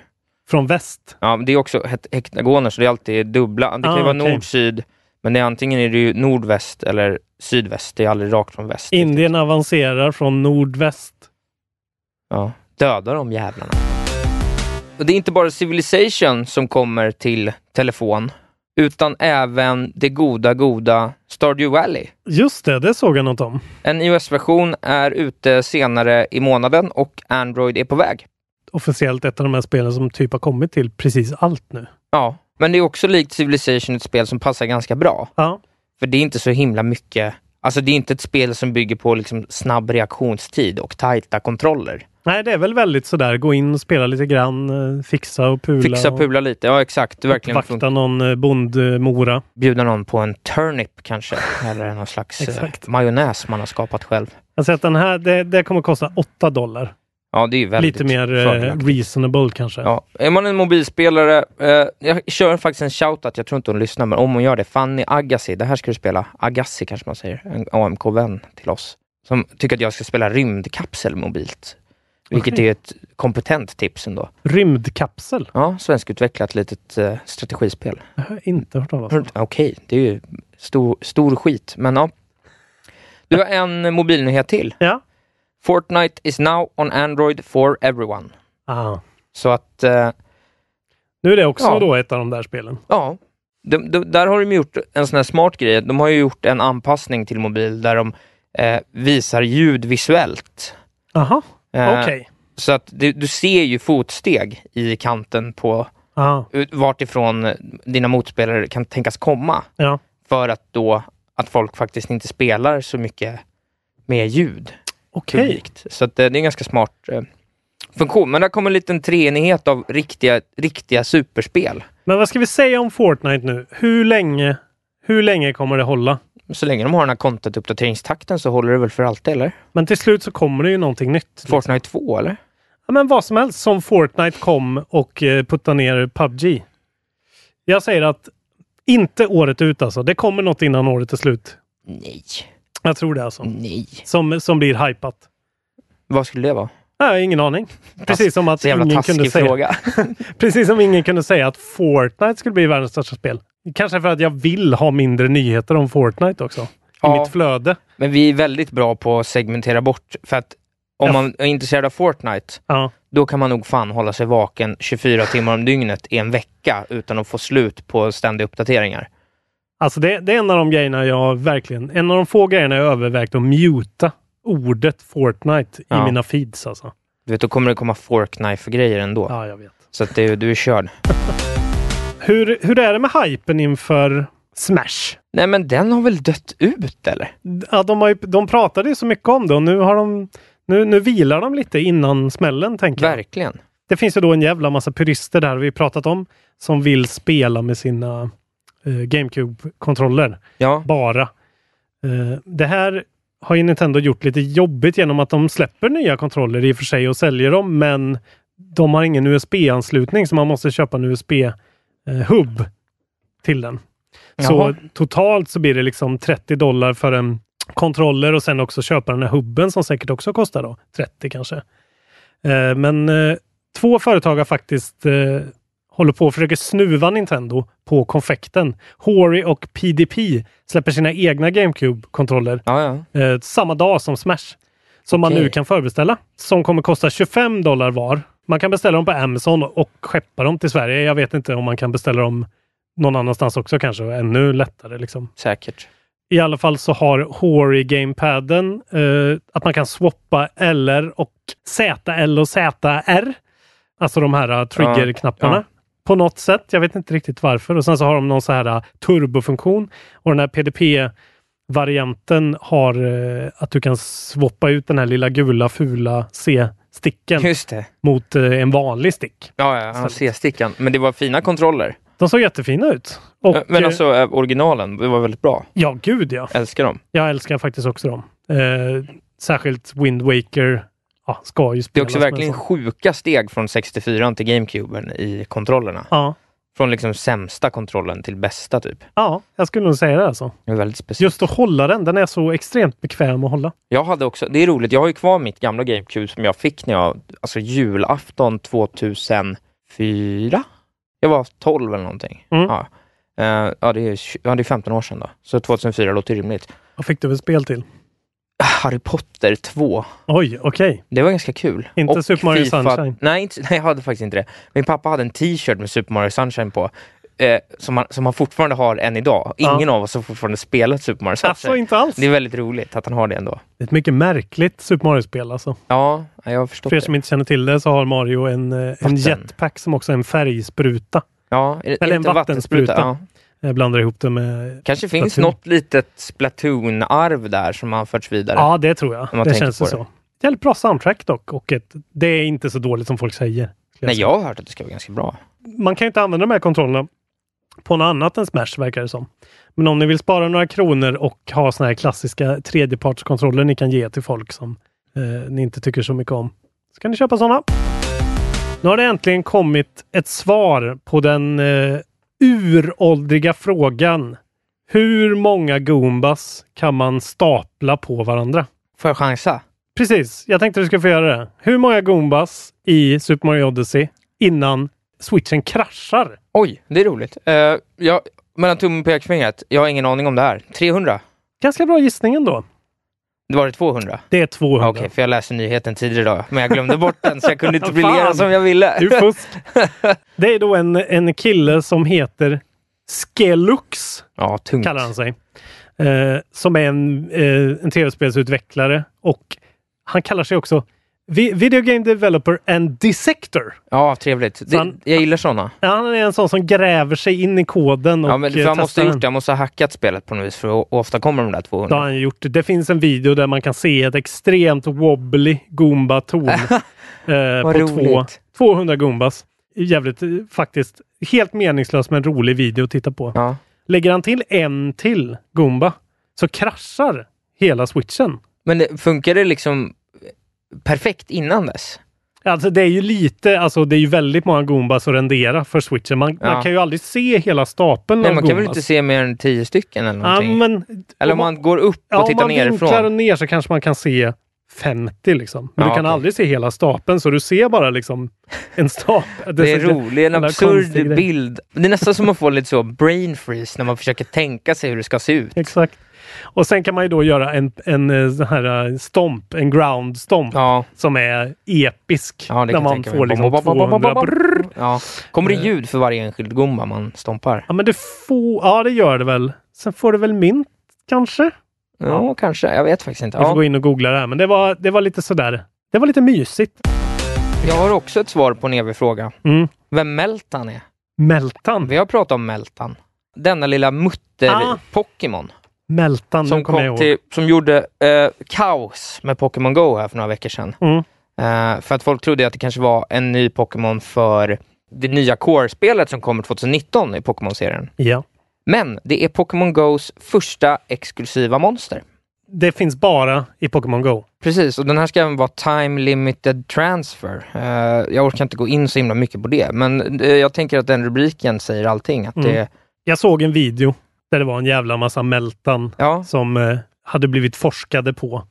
E: från väst.
D: Ja, men det är också het- hektagoner så det är alltid dubbla. Det kan ju
E: Ah,
D: vara
E: okej.
D: nord, syd, men det är antingen är det ju nordväst eller sydväst. Det är aldrig rakt från väst.
E: Indien avancerar från nordväst.
D: Ja. Döda de jävlarna. Och det är inte bara Civilization som kommer till telefon, utan även det goda, goda Stardew Valley.
E: Just det, det såg jag något om.
D: En iOS-version är ute senare i månaden och Android är på väg.
E: Officiellt ett av de här spelen som typ har kommit till precis allt nu.
D: Ja, men det är också likt Civilization ett spel som passar ganska bra.
E: Ja,
D: För det är inte så himla mycket, alltså det är inte ett spel som bygger på liksom snabb reaktionstid och tajta kontroller.
E: Nej, det är väl väldigt sådär, gå in och spela lite grann, eh, fixa och pula.
D: Fixa, pula lite. Ja, exakt. Verkligen.
E: och vakta någon eh, bondmora.
D: Bjuda någon på en turnip kanske. Eller någon slags eh,
E: Exakt.
D: majonnäs man har skapat själv.
E: Alltså att den här, det, det kommer kosta 8 dollar.
D: Ja, det är ju väldigt
E: Lite mer eh,
D: fördelaktigt.
E: reasonable kanske.
D: Ja. Är man en mobilspelare, eh, jag kör faktiskt en shoutout, jag tror inte hon lyssnar, men om hon gör det, Fanny Agassi, det här ska du spela, Agassi kanske man säger, en AMK-vän till oss, som tycker att jag ska spela rymdkapsel mobilt. Vilket
E: Okej.
D: är ett kompetent tips ändå.
E: Rymdkapsel?
D: Ja, svenskutvecklat litet eh, strategispel.
E: Jag har inte hört talas om.
D: Hör- Okej, det är ju stor, stor skit, men ja. Du har en mobilnyhet till.
E: Ja.
D: Fortnite is now on Android for everyone.
E: Ah.
D: Så att eh,
E: Nu är det också
D: Ja.
E: då ett av de där spelen.
D: Ja. De, de, där har de gjort en sån här smart grej. De har ju gjort en anpassning till mobil där de eh, visar ljud visuellt.
E: Aha,
D: Eh,
E: okej.
D: Så att du, du ser ju fotsteg i kanten på
E: Ah,
D: ut- vartifrån eh, dina motspelare kan tänkas komma.
E: Ja.
D: För att då att folk faktiskt inte spelar så mycket med ljud
E: Okej.
D: publikt. Så att, eh, det är en ganska smart eh, funktion. Men där kommer en liten treenighet av riktiga, riktiga superspel.
E: Men vad ska vi säga om Fortnite nu? Hur länge, hur länge kommer det hålla?
D: Så länge de har den här content-uppdateringstakten så håller det väl för alltid, eller?
E: Men till slut så kommer det ju någonting nytt.
D: Fortnite 2, eller?
E: Ja, men vad som helst som Fortnite kom och eh, puttade ner PubG. Jag säger att inte året ut alltså. Det kommer något innan året är slut.
D: Nej.
E: Jag tror det alltså.
D: Nej.
E: Som, som blir hypat.
D: Vad skulle det vara?
E: Nej, jag har ingen aning. Precis som att
D: Så jävla
E: ingen kunde
D: taskig
E: säga.
D: fråga.
E: Precis som ingen kunde säga att Fortnite skulle bli världens största spel. Kanske för att jag vill ha mindre nyheter om Fortnite också. I
D: Ja.
E: mitt flöde.
D: Men vi är väldigt bra på att segmentera bort, för att
E: Ja.
D: om man är intresserad av Fortnite,
E: Ja.
D: då kan man nog fan hålla sig vaken 24 timmar om dygnet i en vecka utan att få slut på ständiga uppdateringar.
E: Alltså det, det är en av de grejerna jag verkligen, en av de få grejerna jag övervägt att muta ordet Fortnite i
D: Ja.
E: mina feeds alltså.
D: Du vet, då kommer det komma Fortnite-grejer ändå.
E: Ja, jag vet.
D: Så att du, du är körd.
E: Hur, hur är det med hypen inför Smash?
D: Nej, men den har väl dött ut, eller?
E: Ja, de, har ju, de pratade ju så mycket om det och nu har de nu, nu vilar de lite innan smällen tänker jag.
D: Verkligen.
E: Det finns ju då en jävla massa purister där vi pratat om som vill spela med sina eh, GameCube-kontroller.
D: Ja.
E: bara. Eh, det här har ju Nintendo gjort lite jobbigt genom att de släpper nya kontroller i och för sig och säljer dem, men de har ingen USB-anslutning så man måste köpa en USB-hub eh, till den.
D: Jaha.
E: Så totalt så blir det liksom 30 dollar för en kontroller och sen också köpa den här hubben som säkert också kostar då 30 kanske. Eh, Men eh, två företag har faktiskt eh, håller på och försöker snuva Nintendo på konfekten. Hori och PDP släpper sina egna GameCube-kontroller
D: Ja, ja.
E: eh, samma dag som Smash. Som man
D: Okej.
E: nu kan förbeställa. Som kommer kosta 25 dollar var. Man kan beställa dem på Amazon och skeppa dem till Sverige. Jag vet inte om man kan beställa dem någon annanstans också kanske. Ännu lättare liksom.
D: Säkert.
E: I alla fall så har Hori gamepaden eh, att man kan swappa LR och ZL och ZR. Alltså de här eh, triggerknapparna.
D: Ja,
E: På något sätt. Jag vet inte riktigt varför. Och sen så har de någon så här eh, turbofunktion. Och den här PDP-varianten har eh, att du kan swappa ut den här lilla gula fula C-sticken
D: Just det.
E: mot eh, en vanlig stick.
D: Ja, ja, ja C-stickan. Men det var fina kontroller.
E: De såg jättefina ut. Och,
D: Ö, Men
E: eh,
D: alltså eh, originalen, det var väldigt bra.
E: Ja, gud ja.
D: Älskar dem.
E: Jag älskar faktiskt också dem. Eh, särskilt Wind Waker ja, ska ju
D: Det är
E: spelas
D: också
E: med
D: verkligen
E: en sån.
D: sjuka steg från 64 till GameCuben i kontrollerna.
E: Ja,
D: Från liksom sämsta kontrollen till bästa typ.
E: ja, jag skulle nog säga det alltså.
D: Det är väldigt speciellt.
E: Just att hålla den, den är så extremt bekväm att hålla.
D: Jag hade också, det är roligt, jag har ju kvar mitt gamla GameCube som jag fick när jag, alltså julafton 2004? Jag var 12 eller någonting.
E: Mm.
D: Ja. Eh, ja, det är, tj- ja, det är 15 år sedan då. Så 2004 låter rimligt. Ah,
E: Vad fick du för spel till?
D: Harry Potter 2.
E: Oj, okej.
D: Det var ganska kul.
E: Inte Super Mario Sunshine?
D: Nej, inte, nej, jag hade faktiskt inte det. Min pappa hade en t-shirt med Super Mario Sunshine på. Eh, som, han, som han fortfarande har än idag.
E: Ja.
D: Ingen av oss har fortfarande spelat Super Mario Sunshine.
E: Alltså inte alls.
D: Det
E: Det
D: är väldigt roligt att han har det ändå.
E: är ett mycket märkligt Super Mario-spel alltså.
D: Ja, jag har förstått
E: För er
D: det.
E: som inte känner till det så har Mario en, eh, en
D: Vatten.
E: jetpack som också är en färgspruta.
D: Ja, är det,
E: Eller en
D: inte
E: vattenspruta.
D: Ja.
E: Jag blandar ihop det med...
D: Kanske finns
E: Splatoon.
D: något litet Splatoon-arv där som har förts vidare.
E: Ja, det tror jag.
D: man
E: Det
D: tänker
E: känns
D: på
E: ju
D: det.
E: så. Jävligt bra soundtrack dock och ett, det är inte så dåligt som folk säger. skulle
D: Nej,
E: säga.
D: jag har hört att det ska vara ganska bra.
E: Man kan ju inte använda de här kontrollerna på något annat än Smash verkar det som. Men om ni vill spara några kronor och ha såna här klassiska tredjepartskontroller ni kan ge till folk som eh, ni inte tycker så mycket om. Så kan ni köpa sådana. Nu har det äntligen kommit ett svar på den eh, uråldriga frågan. Hur många Goombas kan man stapla på varandra?
D: Får jag chansa?
E: Precis, jag tänkte du skulle få göra det. Hur många Goombas i Super Mario Odyssey innan switchen kraschar?
D: Oj, det är roligt. Eh, jag, mellan tummen och pekfingret, jag har ingen aning om det här. 300?
E: Ganska bra gissning ändå.
D: Det var det 200?
E: Det är 200.
D: Ah, Okej, för jag läste nyheten tidigare idag, men jag glömde bort den så jag kunde inte briljera
E: Fan.
D: som jag ville.
E: Du är fusk. Det är då en, en kille som heter Skelux,
D: Ja, tungt.
E: kallar han sig. Eh, som är en, eh, en tv-spelsutvecklare och han kallar sig också vi- Video Game Developer and Dissector.
D: Ja, trevligt. Det,
E: han-
D: jag gillar såna.
E: Ja, Han är en sån som gräver sig in i koden och
D: Ja, men
E: eh,
D: för han måste
E: testar
D: ha
E: den.
D: gjort det. Han måste ha hackat spelet på något vis för att åstadkomma de där
E: Det
D: 200.
E: har han gjort. Det finns en video där man kan se ett extremt wobbly Goomba-torn. eh,
D: Vad
E: på två,
D: roligt.
E: 200 Goombas. Jävligt eh, faktiskt helt meningslös men rolig video att titta på.
D: Ja.
E: Lägger han till en till Goomba så kraschar hela switchen.
D: Men det, funkar det liksom perfekt innan dess?
E: Alltså det är ju lite, alltså det är ju väldigt många Goombas att rendera för switchen. Man,
D: Ja.
E: man kan ju aldrig se hela stapeln
D: Nej,
E: av
D: man kan väl inte
E: Goombas.
D: se mer än 10 stycken eller
E: Ja,
D: någonting?
E: men,
D: eller om man går upp
E: Ja,
D: och tittar
E: Om man vinklar
D: nerifrån.
E: ner så kanske man kan se 50 liksom. Men
D: Ja,
E: du kan
D: okej.
E: aldrig se hela stapeln så du ser bara liksom en stapel.
D: Det är
E: så-
D: roligt, en
E: jävla
D: absurd
E: konstig grej.
D: bild. Det är nästan som att få lite så brain freeze när man försöker tänka sig hur det ska se ut.
E: Exakt. Och sen kan man ju då göra en, en eh, sån här eh, stomp, en ground stomp.
D: Ja,
E: Som är episk.
D: ja det
E: när
D: kan jag
E: man
D: tänka mig.
E: får liksom
D: Bom, bom, bom, bom, bom,
E: 200
D: bom.
E: brrrr. Eh.
D: Ja. Kommer det ljud för varje enskild gumma man stompar?
E: Ja men det får, ja det gör det väl. Sen får det väl mint kanske?
D: Ja, kanske. Jag vet faktiskt inte.
E: Vi får
D: Ja.
E: gå in och googla det här men det var, det var lite sådär. Det var lite mysigt.
D: Jag har också ett svar på en evig fråga.
E: Mm.
D: Vem Meltan är?
E: Mältan.
D: Vi har pratat om Meltan. Denna lilla mutter-Pokémon
E: Mältan,
D: som,
E: Ah. den kommer jag
D: kom
E: ihåg.
D: till- som gjorde eh, kaos med Pokémon Go här för några veckor sedan.
E: Mm.
D: Eh, för att folk trodde att det kanske var en ny Pokémon för det nya Core-spelet som kommer 2019 i Pokémon-serien.
E: Ja.
D: Men det är Pokémon Go's första exklusiva monster.
E: Det finns bara i Pokémon Go.
D: Precis, och den här ska även vara time limited transfer. Eh, jag orkar inte gå in så himla mycket på det, men eh, jag tänker att den rubriken säger allting. Att det,
E: Jag såg en video där det var en jävla massa Meltan
D: ja,
E: som eh, hade blivit forskade på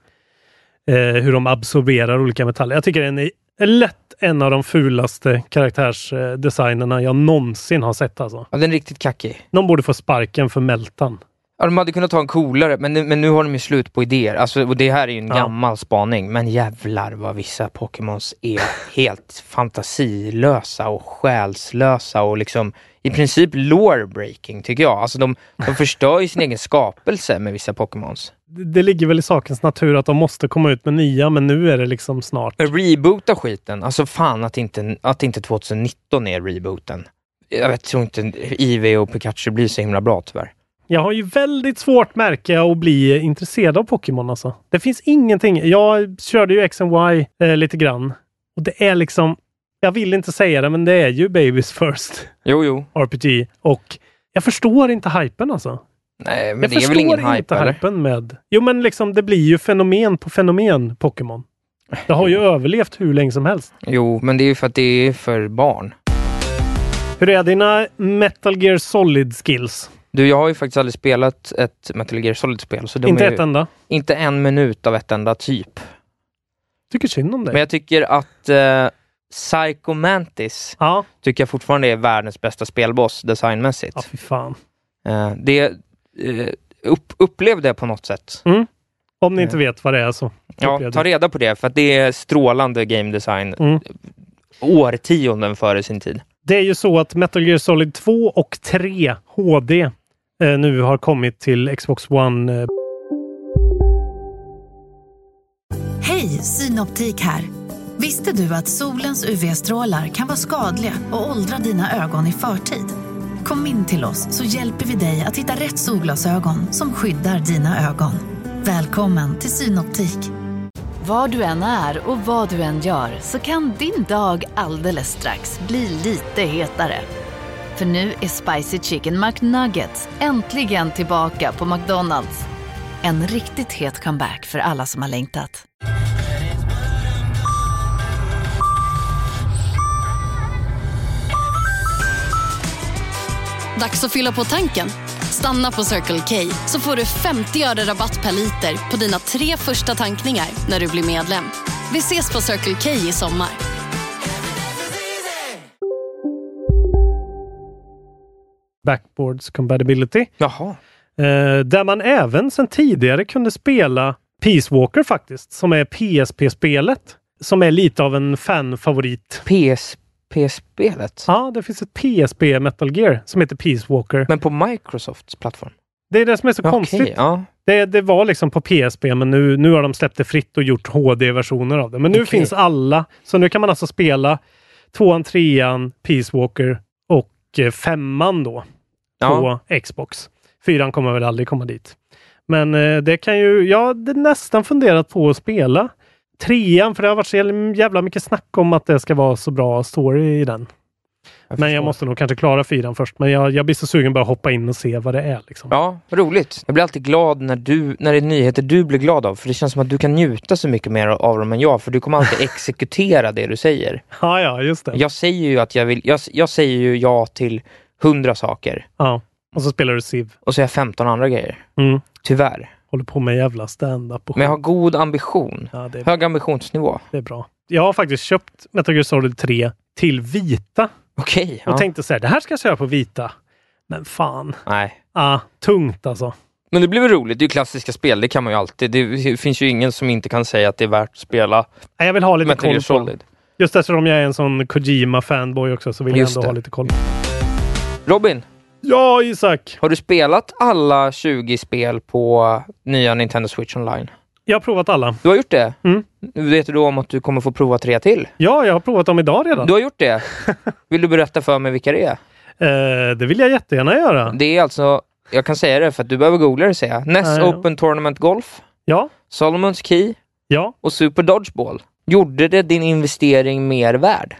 E: eh, hur de absorberar olika metaller. Jag tycker den är är lätt en av de fulaste karaktärsdesignerna jag någonsin har sett. Alltså.
D: ja, den är riktigt kackig.
E: Någon borde få sparken för Meltan.
D: Ja, de hade kunnat ta en coolare, men, nu- men nu har de ju slut på idéer. Alltså, och det här är ju en
E: Ja.
D: gammal spaning, men jävlar vad vissa Pokémons är helt fantasilösa och själslösa och liksom i princip lore breaking tycker jag. Alltså de, de förstör ju sin egen skapelse med vissa Pokémons.
E: Det, det ligger väl i sakens natur att de måste komma ut med nya, men nu är det liksom snart.
D: Reboota skiten. Alltså fan att inte, att inte 2019 är rebooten. Jag vet, tror inte IV och Pikachu blir så himla bra tyvärr.
E: Jag har ju väldigt svårt märker jag att bli intresserad av Pokémon alltså. Det finns ingenting. Jag körde ju X and Y eh, lite grann och det är liksom, jag vill inte säga det, men det är ju Babies First
D: Jo, jo.
E: RPG och jag förstår inte hypen alltså.
D: Nej, men
E: jag
D: det är
E: förstår
D: väl ingen hype
E: inte
D: eller?
E: hypen med... Jo, men liksom det blir ju fenomen på fenomen Pokémon. Det har ju överlevt hur länge som helst.
D: Jo, men det är ju för att det är för barn.
E: Hur är dina Metal Gear Solid skills?
D: Du, jag har ju faktiskt aldrig spelat ett Metal Gear Solid-spel, så de
E: inte
D: är
E: ett
D: ju,
E: enda.
D: inte en minut av ett enda typ.
E: Tycker synd om dig.
D: Men jag tycker att eh, Psycho Mantis
E: Ja.
D: tycker jag fortfarande är världens bästa spelboss designmässigt.
E: ja, fy fan.
D: Eh, det eh, upp, upplevde jag på något sätt.
E: Om ni inte vet vad det är så.
D: Ja,
E: upplevde.
D: ta reda på det, för att det är strålande game design.
E: Mm.
D: Årtionden före sin tid.
E: Det är ju så att Metal Gear Solid 2 och 3 HD eh, nu har kommit till Xbox One. Eh,
F: Hej, Synoptik här. Visste du att solens UV-strålar kan vara skadliga och åldra dina ögon i förtid? Kom in till oss så hjälper vi dig att hitta rätt solglasögon som skyddar dina ögon. Välkommen till Synoptik. Var du än är och vad du än gör så kan din dag alldeles strax bli lite hetare. För nu är Spicy Chicken McNuggets äntligen tillbaka på McDonalds. En riktigt het comeback för alla som har längtat.
G: Dags att fylla på tanken. Stanna på Circle K så får du 50 öre rabatt per liter på dina tre första tankningar när du blir medlem. Vi ses på Circle K i sommar.
E: Backboards compatibility.
D: Jaha.
E: Eh, där man även sedan tidigare kunde spela Peace Walker faktiskt, som är PSP-spelet. Som är lite av en fanfavorit.
D: PSP-spelet?
E: Ja, det finns ett PSP Metal Gear som heter Peace Walker.
D: Men på Microsofts plattform?
E: Det är det som är så
D: Okej,
E: konstigt.
D: ja.
E: Det, det var liksom på PSP, men nu, nu har de släppt det fritt och gjort HD-versioner av det. Men nu
D: Okej.
E: finns alla, så nu kan man alltså spela tvåan, trean, Peace Walker och eh, femman då
D: ja.
E: på Xbox. Fyran kommer väl aldrig komma dit. Men eh, det kan ju, jag hade nästan funderat på att spela trean, för det har varit så jävla- jävla mycket snack om att det ska vara så bra story i den. men jag
D: förstår.
E: måste nog kanske klara fyran först, men jag, jag blir så sugen bara hoppa in och se vad det är. Liksom.
D: Ja, roligt. Jag blir alltid glad när, du, när det är nyheter du blir glad av, för det känns som att du kan njuta så mycket mer av dem än jag, för du kommer alltid exekutera det du säger.
E: Ja, ja, just det.
D: Jag säger ju att jag vill, jag, jag säger ju ja till hundra saker,
E: Ja. Och så spelar du Civ.
D: och så är jag 15 andra grejer.
E: Mm.
D: Tyvärr.
E: Håller på med jävla stand-up och
D: Men jag har god ambition.
E: skit. ja, det, är,
D: Hög ambitionsnivå.
E: det är bra. Jag har faktiskt köpt Metal Gear Solid 3 till vita
D: Okej. ja.
E: och tänkte så här, det här ska jag köra på vita. Men fan,
D: Nej.
E: ah, tungt alltså.
D: Men det blir väl roligt, det är ju klassiska spel, det kan man ju alltid. Det finns ju ingen som inte kan säga att det är värt att spela
E: Nej, Ah, Jag vill ha lite
D: Metal Gear
E: koll på den.
D: Solid.
E: Just eftersom jag är en sån Kojima-fanboy också så vill
D: Just
E: jag ändå
D: det.
E: ha lite koll.
D: Robin,
E: Ja, Isak!
D: har du spelat alla 20 spel på nya Nintendo Switch Online?
E: Jag har provat alla.
D: Du har gjort det?
E: Mm.
D: Vet du då om att du kommer få prova tre till?
E: Ja, jag har provat dem idag redan.
D: Du har gjort det? Vill du berätta för mig vilka det är?
E: Eh, det vill jag jättegärna göra.
D: Det är alltså, jag kan säga det för att du behöver googla det säger jag. NES
E: Ja, ja.
D: Open Tournament Golf,
E: Ja,
D: Solomons Key
E: ja.
D: och Super Dodgeball. Gjorde det din investering mer värd?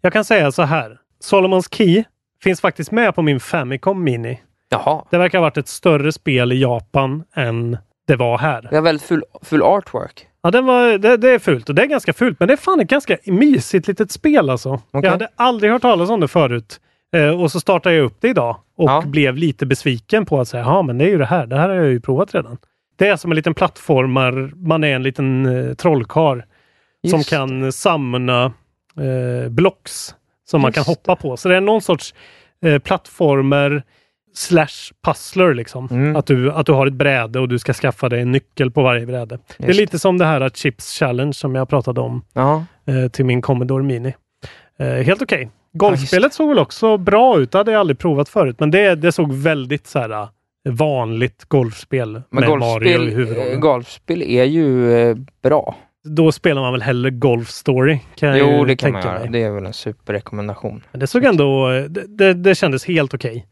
E: Jag kan säga så här. Solomons Key finns faktiskt med på min Famicom Mini.
D: Jaha.
E: Det verkar ha varit ett större spel i Japan än det var här.
D: Det är väldigt full, full artwork.
E: Ja, den var, det, det är fult och det är ganska fult, men det är fan ett ganska mysigt litet spel alltså. Jag hade aldrig hört talas om det förut eh, och så startade jag upp det idag och
D: Ja.
E: blev lite besviken på att säga, ja men det är ju det här, det här har jag ju provat redan. Det är som en liten plattformar, man är en liten eh, trollkar som
D: Just
E: kan samla eh, blocks som man kan
D: Just
E: hoppa på. Så det är någon sorts eh, plattformer slash puzzler liksom.
D: Mm.
E: Att, du, att du har ett bräde och du ska skaffa dig en nyckel på varje bräde. Det är
D: Just
E: lite som det här att Chips Challenge som jag pratade om
D: Ja.
E: eh, till min Commodore Mini. Eh, helt okej.
D: Ja,
E: Golfspelet såg väl också bra ut. Det hade jag aldrig provat förut, men det, det såg väldigt så här eh, vanligt golfspel
D: Men
E: med Mario i
D: golfspel, eh,
E: huvudrollen.
D: golfspel är ju eh, bra.
E: Då spelar man väl hellre Golf Story? Kan jag
D: Jo,
E: ju
D: det kan man
E: tänka
D: göra.
E: mig.
D: Det är väl en superrekommendation.
E: Men det såg ändå... eh, Det, det, det kändes helt okej.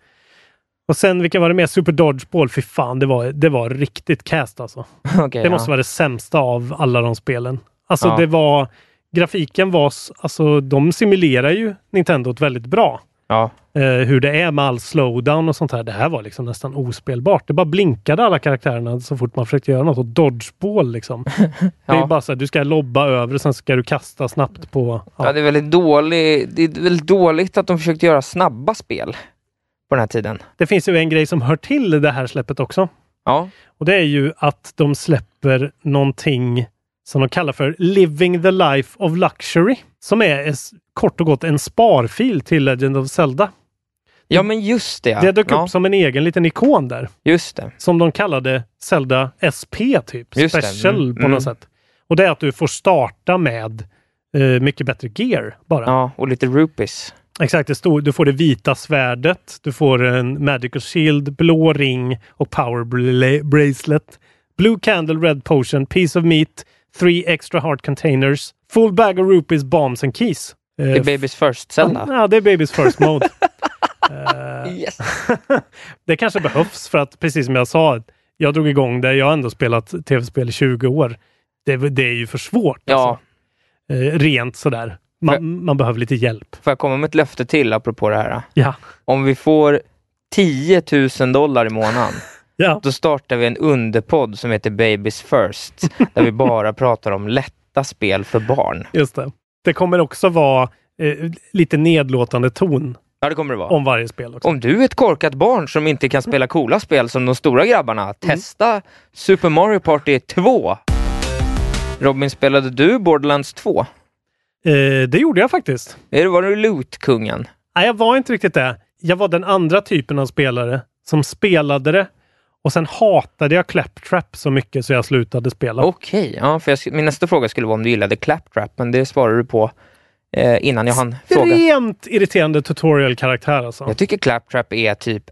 E: Och sen, vilka var det mer? Super Dodgeball, fy fan, det var, det var riktigt cast alltså.
D: Okej,
E: Det måste vara det sämsta av alla de spelen. Alltså
D: Ja.
E: det var... Grafiken var... s- Alltså de simulerar ju Nintendot väldigt bra.
D: ja.
E: Eh, hur det är med all slowdown och sånt här. Det här var liksom nästan ospelbart. Det bara blinkade alla karaktärerna så fort man försökte göra något. Och dodgeball liksom. Det är
D: Ja.
E: bara så här, du ska lobba över och sen ska du kasta snabbt på...
D: Ja. det är väldigt dålig, det är väldigt dåligt att de försökte göra snabba spel på den här tiden.
E: Det finns ju en grej som hör till det här släppet också.
D: Ja,
E: Och det är ju att de släpper någonting som de kallar för Living the Life of Luxury. Som är es- kort och gott en sparfil till Legend of Zelda.
D: ja men just det.
E: Det dök
D: ja,
E: upp som en egen liten ikon där.
D: Just det.
E: Som de kallade Zelda SP typ.
D: Just det,
E: Special
D: mm,
E: på
D: mm.
E: något sätt. Och det är att du får starta med eh, mycket bättre gear bara.
D: Ja, och lite rupees.
E: Exakt, det stod, du får det vita svärdet, du får en magical shield, blå ring och power bla- bracelet. Blue candle, red potion, piece of meat, three extra heart containers, full bag of rupees, bombs and keys. Eh,
D: Det är Babies first
E: ja,
D: Zelda.
E: ja, det är babies first mode. Mm.
D: Yes.
E: det kanske behövs för att, precis som jag sa, jag drog igång det. Jag har ändå spelat tv-spel i 20 år. det, är- det är ju för svårt.
D: Ja,
E: Alltså. Eh, rent sådär. Man, man behöver lite hjälp.
D: får jag komma med ett löfte till apropå det här?
E: Ja.
D: Om vi får 10 000 dollar i månaden,
E: Ja.
D: då startar vi en underpodd som heter Babies First, där vi bara pratar om lätta spel för barn.
E: Just det. Det kommer också vara eh, lite nedlåtande ton
D: Ja, det kommer det vara.
E: om varje spel. Också.
D: Om du är ett korkat barn som inte kan spela coola spel som de stora grabbarna, testa Super Mario Party 2. Robin, spelade du Borderlands 2?
E: Eh, det gjorde jag faktiskt.
D: Är det, var du lootkungen?
E: Nej, jag var inte riktigt det. Jag var den andra typen av spelare som spelade det och sen hatade jag Claptrap så mycket så jag slutade spela.
D: Okej, ja, för jag, sk- min nästa fråga skulle vara om du gillade Claptrap, men det svarade du på eh, innan jag hann fråga.
E: Extremt irriterande tutorial-karaktär alltså.
D: Jag tycker Claptrap är typ...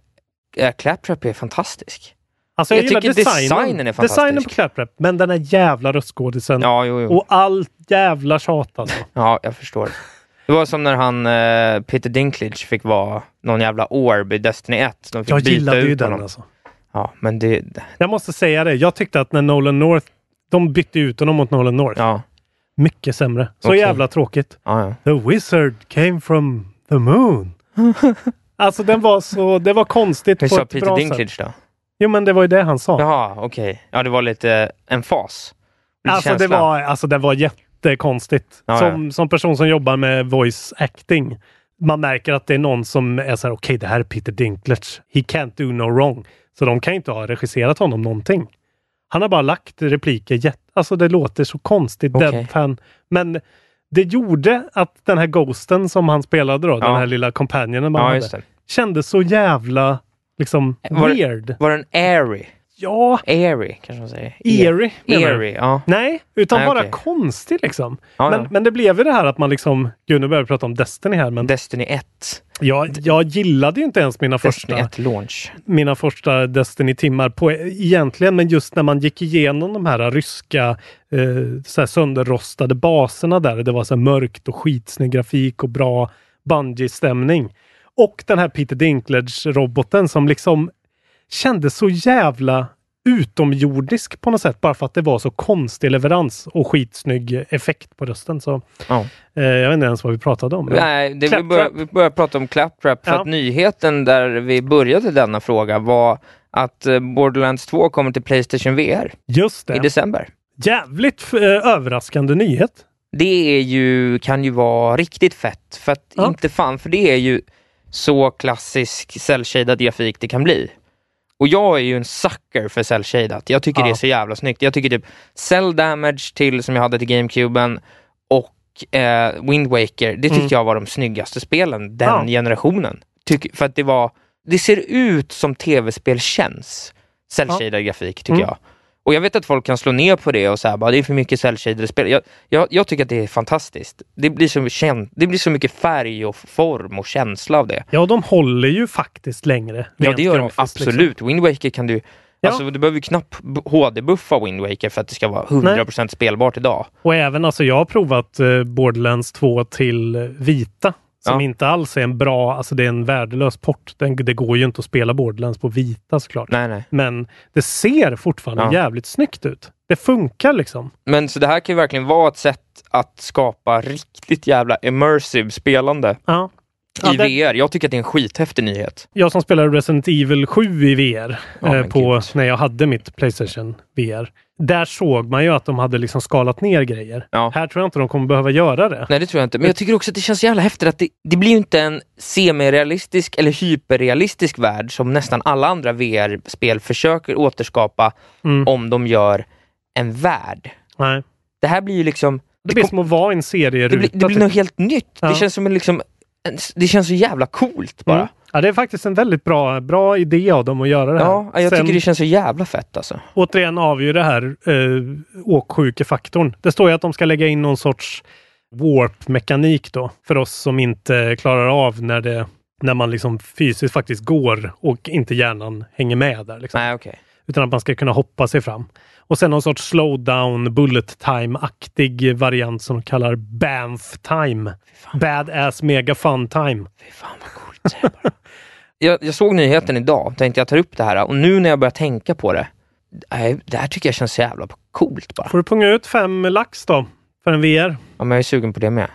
D: Ja, Claptrap är fantastisk.
E: alltså jag,
D: jag
E: gillar
D: tycker
E: designen.
D: designen är fantastisk.
E: Designen på Claptrap, men den här jävla röstskådisen.
D: Ja, jo, jo.
E: Mm. Och allt jävla tjat alltså.
D: Ja, jag förstår. Det var som när han, eh, Peter Dinklage fick vara någon jävla orb i Destiny 1. De fick
E: Jag
D: byta
E: gillade
D: ut
E: ju den
D: honom.
E: alltså.
D: Ja, men det...
E: Jag måste säga det, jag tyckte att när Nolan North, de bytte ut honom mot Nolan North.
D: Ja,
E: Mycket sämre. Så
D: Okej.
E: jävla tråkigt.
D: ja, ja.
E: The wizard came from the moon. alltså den var så, det var konstigt
D: Hur
E: på
D: sa
E: ett
D: Peter
E: bra sätt.
D: Dinklage då?
E: Jo men det var ju det han sa.
D: Jaha, okej. Ja, det var lite en fas. Lite
E: alltså det
D: känsla.
E: var, alltså det var jättekonstigt.
D: Ja,
E: som, som person som jobbar med voice acting. Man märker att det är någon som är så här, okej det här är Peter Dinklage. He can't do no wrong. Så de kan inte ha regisserat honom någonting. Han har bara lagt repliker, jätt, alltså det låter så konstigt,
D: Okej.
E: deadpan. Men det gjorde att den här ghosten som han spelade då, den
D: Ja.
E: här lilla kompanjonen man
D: Ja,
E: hade,
D: just det.
E: kändes så jävla liksom
D: Var det-
E: weird.
D: Var den airy?
E: Ja,
D: Airy, kanske man säger.
E: Eerie, menar du?
D: Airy, ja.
E: nej, utan
D: Nej,
E: bara
D: okej.
E: konstig liksom.
D: Ja,
E: men,
D: ja.
E: men det blev ju det här att man liksom, gud nu börjar vi prata om Destiny här, men
D: Destiny 1.
E: jag, jag gillade ju inte ens mina
D: Destiny
E: första,
D: 1 launch.
E: mina första Destiny-timmar på, egentligen, men just när man gick igenom de här ryska eh, så här sönderrostade baserna där, det var så här mörkt och skitsnygg grafik och bra bungee-stämning. Och den här Peter Dinklage-roboten som liksom kändes så jävla utomjordisk på något sätt, bara för att det var så konstig leverans och skitsnygg effekt på rösten. Så
D: Ja.
E: Eh, Jag vet inte ens vad vi pratade om.
D: Nej, det, vi,
E: Claptrap.
D: börjar, vi börjar prata om Claptrap för
E: Ja.
D: att nyheten där vi började denna fråga var att eh, Borderlands 2 kommer till Playstation VR
E: Just det.
D: i december.
E: Jävligt f- eh, överraskande nyhet.
D: Det är ju, kan ju vara riktigt fett, för att
E: Ja.
D: inte fan, för det är ju så klassisk cell-shaded grafik det kan bli. Och jag är ju en sucker för cell-shadat. Jag tycker
E: Ja.
D: det är så jävla snyggt. Jag tycker typ cell damage till, som jag hade till GameCuben, och eh, Wind Waker, det tyckte
E: Mm.
D: jag var de snyggaste spelen den
E: Ja.
D: generationen. Tyck, för att det var, det ser ut som tv-spel känns. Cell-shaded grafik tycker
E: Mm.
D: jag. Och jag vet att folk kan slå ner på det och säga bara det är för mycket cell-shaded spel. Jag, jag, jag tycker att det är fantastiskt. Det blir, så, kän- det blir så mycket färg och form och känsla av det.
E: Ja, de håller ju faktiskt längre.
D: Ja,
E: rent
D: det gör de
E: grafiskt, liksom.
D: absolut. Wind Waker kan du...
E: Ja.
D: Alltså, du behöver ju knappt b- HD-buffa Wind Waker för att det ska vara 100% spelbart idag.
E: Och även alltså, jag har provat eh, Borderlands 2 till eh, vita. Som
D: Ja.
E: inte alls är en bra, alltså det är en värdelös port. Den, det går ju inte att spela Borderlands på vita såklart.
D: Nej, nej.
E: Men det ser fortfarande
D: Ja.
E: jävligt snyggt ut. Det funkar liksom.
D: Men så det här kan ju verkligen vara ett sätt att skapa riktigt jävla immersive spelande
E: Ja. Ja,
D: i
E: det-
D: VR. Jag tycker att det är en skithäftig nyhet.
E: jag som spelade Resident Evil 7 i VR
D: Ja,
E: eh,
D: men
E: på,
D: gud.
E: när jag hade mitt Playstation VR. Där såg man ju att de hade liksom skalat ner grejer.
D: Ja.
E: Här tror jag inte de kommer behöva göra det.
D: Nej, det tror jag inte. Men jag tycker också att det känns så jävla häftigt att det, det blir ju inte en semirealistisk eller hyperrealistisk värld som nästan alla andra VR-spel försöker återskapa
E: Mm.
D: om de gör en värld.
E: Nej.
D: Det här blir ju liksom...
E: Det blir
D: kom-
E: som att vara i en serieruta.
D: det blir, det blir
E: typ.
D: något helt nytt.
E: Ja.
D: Det känns som en liksom... En, det känns så jävla coolt bara.
E: Mm. Ja, det är faktiskt en väldigt bra, bra idé av dem att göra det här.
D: Ja, jag
E: Sen,
D: tycker det känns så jävla fett alltså.
E: Återigen avgör det här eh, åksjukefaktorn. Det står ju att de ska lägga in någon sorts warp-mekanik då för oss som inte klarar av när, det, när man liksom fysiskt faktiskt går och inte hjärnan hänger med där. Liksom.
D: Nej, okej.
E: Utan att man ska kunna hoppa sig fram. Och sen någon sorts slowdown, bullet time-aktig variant som de kallar Banff time. Badass mega fun time.
D: Fy fan vad coolt. jag, jag såg nyheten idag och tänkte jag tar upp det här och nu när jag börjar tänka på det Nej, det här tycker jag känns så jävla coolt bara.
E: Får du punga ut fem lax då? För en VR?
D: Ja, men jag är sugen på det med.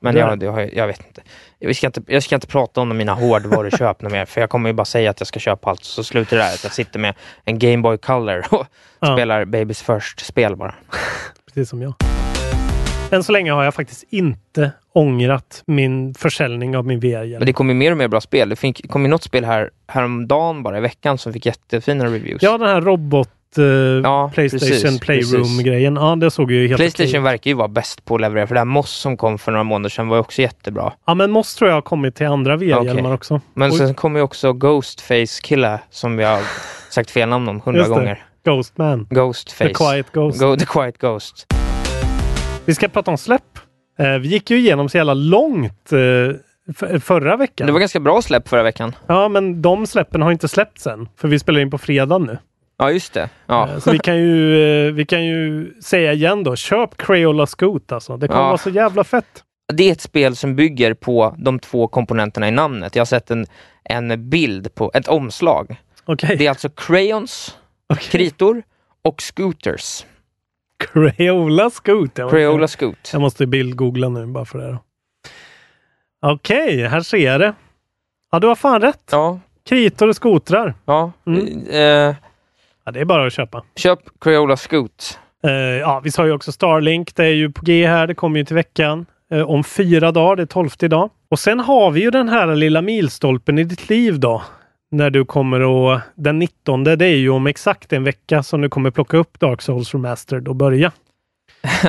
D: Men
E: Det-
D: jag, det har, jag- jag vet inte. Jag ska inte. jag ska inte prata om mina hårdvaruköp något mer, för jag kommer ju bara säga att jag ska köpa allt, så slutar det där att jag sitter med en Game Boy Color och
E: Ja.
D: spelar Babys First-spel bara.
E: Precis som jag. Än så länge har jag faktiskt inte ångrat min försäljning av min VR-hjälm.
D: Men det kommer ju mer och mer bra spel. Det fick, kom ju något spel här, häromdagen bara i veckan som fick jättefina reviews.
E: Ja, den här robot... eh,
D: Ja,
E: Playstation
D: precis,
E: Playroom-grejen. Ja, det såg ju helt
D: Playstation
E: okej ut.
D: verkar ju vara bäst på att leverera, för det här Moss som kom för några månader sedan var ju också jättebra.
E: Ja, men Moss tror jag har kommit till andra VR-hjälmar
D: Okej.
E: också.
D: Men
E: Oj.
D: sen kommer ju också Ghostface Killa, som jag har sagt fel namn om hundra
E: Just det.
D: gånger.
E: Ghostman.
D: Ghostface.
E: The Quiet Ghost.
D: Go, the Quiet Ghost.
E: Vi ska prata om släpp. Eh, vi gick ju igenom så jävla långt eh, f- förra veckan.
D: Det var ganska bra släpp förra veckan.
E: Ja, men de släppen har inte släppts än. För vi spelar in på fredag nu.
D: Ja, just det.
E: Eh,
D: Ja.
E: Så vi kan, ju, eh, vi kan ju säga igen då. Köp Crayola Scoot alltså. Det kommer
D: Ja.
E: vara så jävla fett.
D: Det är ett spel som bygger på de två komponenterna i namnet. Jag har sett en, en bild på ett omslag.
E: Okej.
D: Det är alltså crayons, kritor och scooters.
E: Crayola Scoot. Jag,
D: Crayola Scoot.
E: jag måste bildgoogla nu bara för det här. då. Okej, här ser jag det. Ja, du har fan rätt.
D: Ja,
E: Kritor och skotrar.
D: ja.
E: Mm.
D: Eh,
E: Ja, det är bara att köpa.
D: köp Crayola Scoot.
E: Eh, ja, vi sa ju också Starlink. Det är ju på G här. Det kommer ju till veckan. Eh, om fyra dagar. Det är 12 idag. Och sen har vi ju den här lilla milstolpen i ditt liv då. När du kommer och den 19, det är ju om exakt en vecka som du kommer plocka upp Dark Souls Remastered och börja. Hur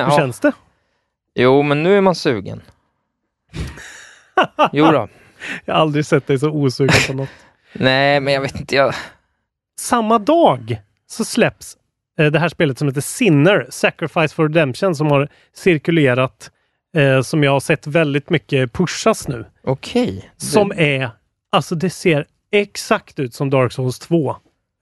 D: Ja.
E: känns det?
D: Jo, men nu är man sugen. Jo då.
E: Jag har aldrig sett dig så osugen på något.
D: Nej, men jag vet inte. Jag...
E: Samma dag så släpps eh, det här spelet som heter Sinner, Sacrifice for Redemption, som har cirkulerat, eh, som jag har sett väldigt mycket pushas nu.
D: Okej.
E: Som är, alltså det ser exakt ut som Dark Souls 2.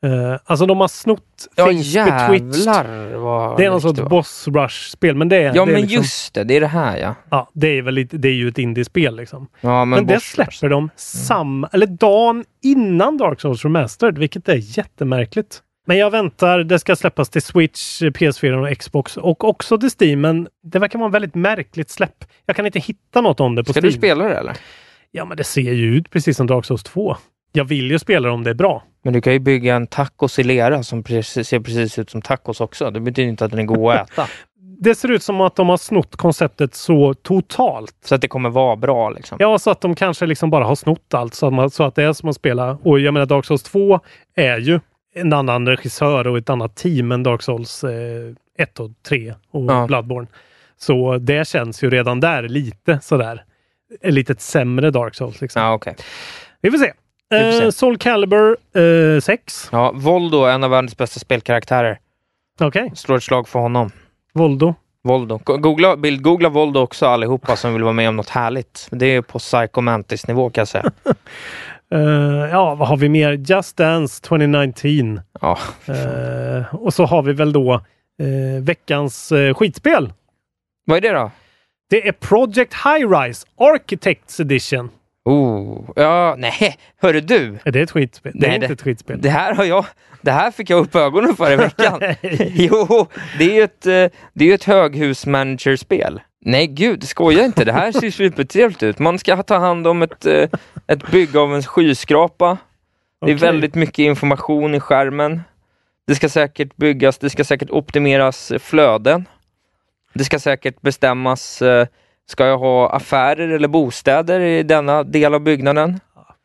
E: Eh, alltså de har snott
D: Ja,
E: things betwixt.
D: jävlar vad
E: Det är någon
D: likt
E: sorts
D: var.
E: boss rush-spel, men det är,
D: Ja,
E: det är
D: men
E: liksom,
D: just det. Det är det här, ja.
E: ja, det är väl lite, det är ju ett indiespel liksom.
D: ja
E: Men, det
D: boss- Mm.
E: släpper de samma, eller dagen innan Dark Souls Remastered, vilket är jättemärkligt. Men jag väntar, det ska släppas till Switch, PS4 och Xbox och också till Steam, men det verkar vara en väldigt märkligt släpp. Jag kan inte hitta något om det på
D: Ska
E: Steam.
D: du spela det eller?
E: Ja, men det ser ju ut precis som Dark Souls 2. Jag vill ju spela det om det är bra.
D: Men du kan ju bygga en tacos i lera som precis, ser precis ut som tacos också. Det betyder inte att den är god att äta.
E: Det ser ut som att de har snott konceptet så totalt.
D: Så att det kommer vara bra liksom.
E: Ja, så att de kanske liksom bara har snott allt så att, man, så att det är som att spela. Och jag menar Dark Souls 2 är ju en annan regissör och ett annat team än Dark Souls eh, 1 och 3 och
D: Ja.
E: Bloodborne. Så det känns ju redan där lite sådär. Ett litet sämre Dark Souls liksom.
D: Ja, okej.
E: Vi får
D: Vi får
E: se.
D: se.
E: Eh, Soul Calibur eh, 6.
D: Ja, Voldo, en av världens bästa spelkaraktärer.
E: Okej.
D: Slår ett slag för honom.
E: Voldo.
D: Voldo. Go- Googla, bild, googla Voldo också allihopa som vill vara med om något härligt. Det är på psychomantis-nivå kan jag säga.
E: Eh, ja, vad har vi mer? Just Dance 2019.
D: Ja,
E: Eh, och så har vi väl då eh, veckans eh, skitspel.
D: vad är det då?
E: Det är Project High Rise Architects Edition.
D: Oh, ja, nej, hörru du.
E: Är det ett skitspel? Det är
D: Nej,
E: inte
D: det-
E: ett skitspel.
D: Det här har jag, det här fick jag upp ögonen för i veckan. jo, det är ju ett, eh, det är ju ett höghusmanagerspel. Nej gud, skoja inte. Det här ser supertrevligt ut. Man ska ta hand om ett, eh, ett bygge av en skyskrapa. Det är
E: Okej.
D: väldigt mycket information i skärmen. Det ska säkert byggas, det ska säkert optimeras eh, flöden. Det ska säkert bestämmas, eh, ska jag ha affärer eller bostäder i denna del av byggnaden?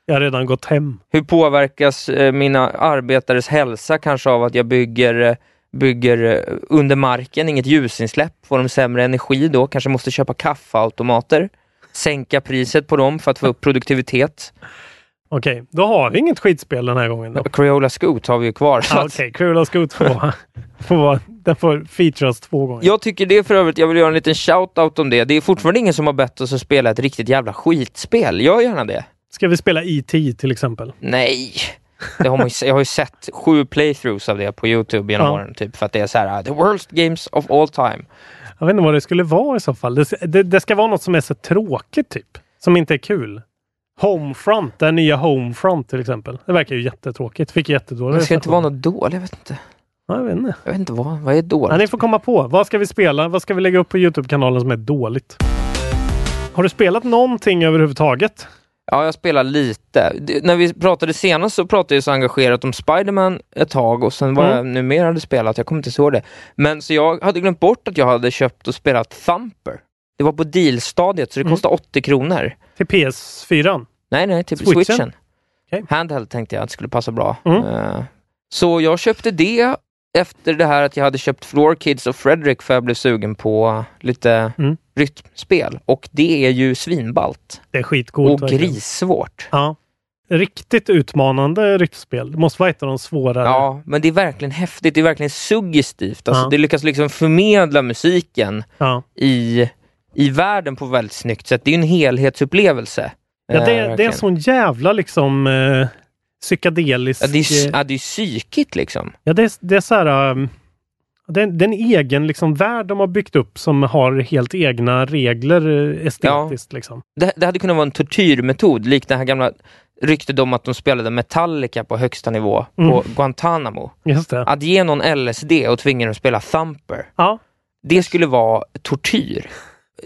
E: Jag har redan gått hem.
D: Hur påverkas eh, mina arbetares hälsa kanske av att jag bygger, eh, bygger eh, under marken, inget ljusinsläpp? Får de sämre energi då? Kanske måste köpa kaffeautomater? Sänka priset på dem för att få upp produktivitet?
E: Okej, då har vi inget skitspel den här gången. Då.
D: Crayola Scoot har vi ju kvar. så
E: Ah,
D: att-
E: Okej, Cruel of Scoot får vara... får vara- Den får featuras två gånger.
D: Jag tycker det för övrigt, jag vill göra en liten shout-out om det. Det är fortfarande ingen som har bett oss att spela ett riktigt jävla skitspel. Gör gärna det.
E: Ska vi spela E.T. till exempel?
D: Nej! Det har man ju, se- jag har ju sett sju playthroughs av det på Youtube genom
E: Ja.
D: åren, typ, för att det är så här: uh, the worst games of all time.
E: Jag vet inte vad det skulle vara i så fall. Det, det, det ska vara något som är så tråkigt typ. Som inte är kul. Homefront, den nya Homefront till exempel. Det verkar ju jättetråkigt. Fick jättedåliga
D: Det ska inte vara
E: recensioner.
D: något dåligt, jag vet inte.
E: Jag vet inte.
D: Jag vet inte vad, vad är dåligt?
E: Ja, ni får komma på. Vad ska vi spela? Vad ska vi lägga upp på Youtube-kanalen som är dåligt? Har du spelat någonting överhuvudtaget?
D: Ja, jag spelar lite. Det, när vi pratade senast så pratade jag så engagerat om Spiderman ett tag och sen vad
E: Mm.
D: jag nu mer hade spelat, jag kommer inte ihåg det. Men så jag hade glömt bort att jag hade köpt och spelat Thumper. Det var på dealstadiet så det
E: Mm.
D: kostade 80 kronor.
E: Till PS4?
D: Nej, nej, till
E: Switchen?
D: switchen.
E: Okej.
D: Handheld tänkte jag att det skulle passa bra.
E: Mm.
D: Eh, Så jag köpte det efter det här att jag hade köpt Floor Kids och Fredrik för jag blev sugen på lite
E: Mm.
D: rytmspel. Och det är ju svinballt
E: Det är skitcoolt.
D: och
E: verkligen.
D: grissvårt.
E: Ja. Riktigt utmanande rytmspel. Det måste vara ett av de svårare.
D: Ja, men det är verkligen häftigt. Det är verkligen suggestivt. Alltså,
E: Ja.
D: Det lyckas liksom förmedla musiken
E: Ja.
D: i, i världen på ett väldigt snyggt sätt. Det är ju en helhetsupplevelse.
E: Ja,
D: Eh,
E: det, det är
D: verkligen.
E: en sån jävla liksom eh, psykedelisk...
D: Ja, det är,
E: eh,
D: ja, det är psykigt liksom.
E: ja, det, är- det är så här... Um, det är en- det är en egen liksom, värld de har byggt upp som har helt egna regler eh, estetiskt. Liksom.
D: Det, det hade kunnat vara en tortyrmetod, likt det här gamla ryktet om att de spelade Metallica på högsta nivå på
E: Mm.
D: Guantanamo.
E: Just det.
D: Att ge någon LSD och tvinga dem att spela Thumper,
E: Ja.
D: det skulle vara tortyr.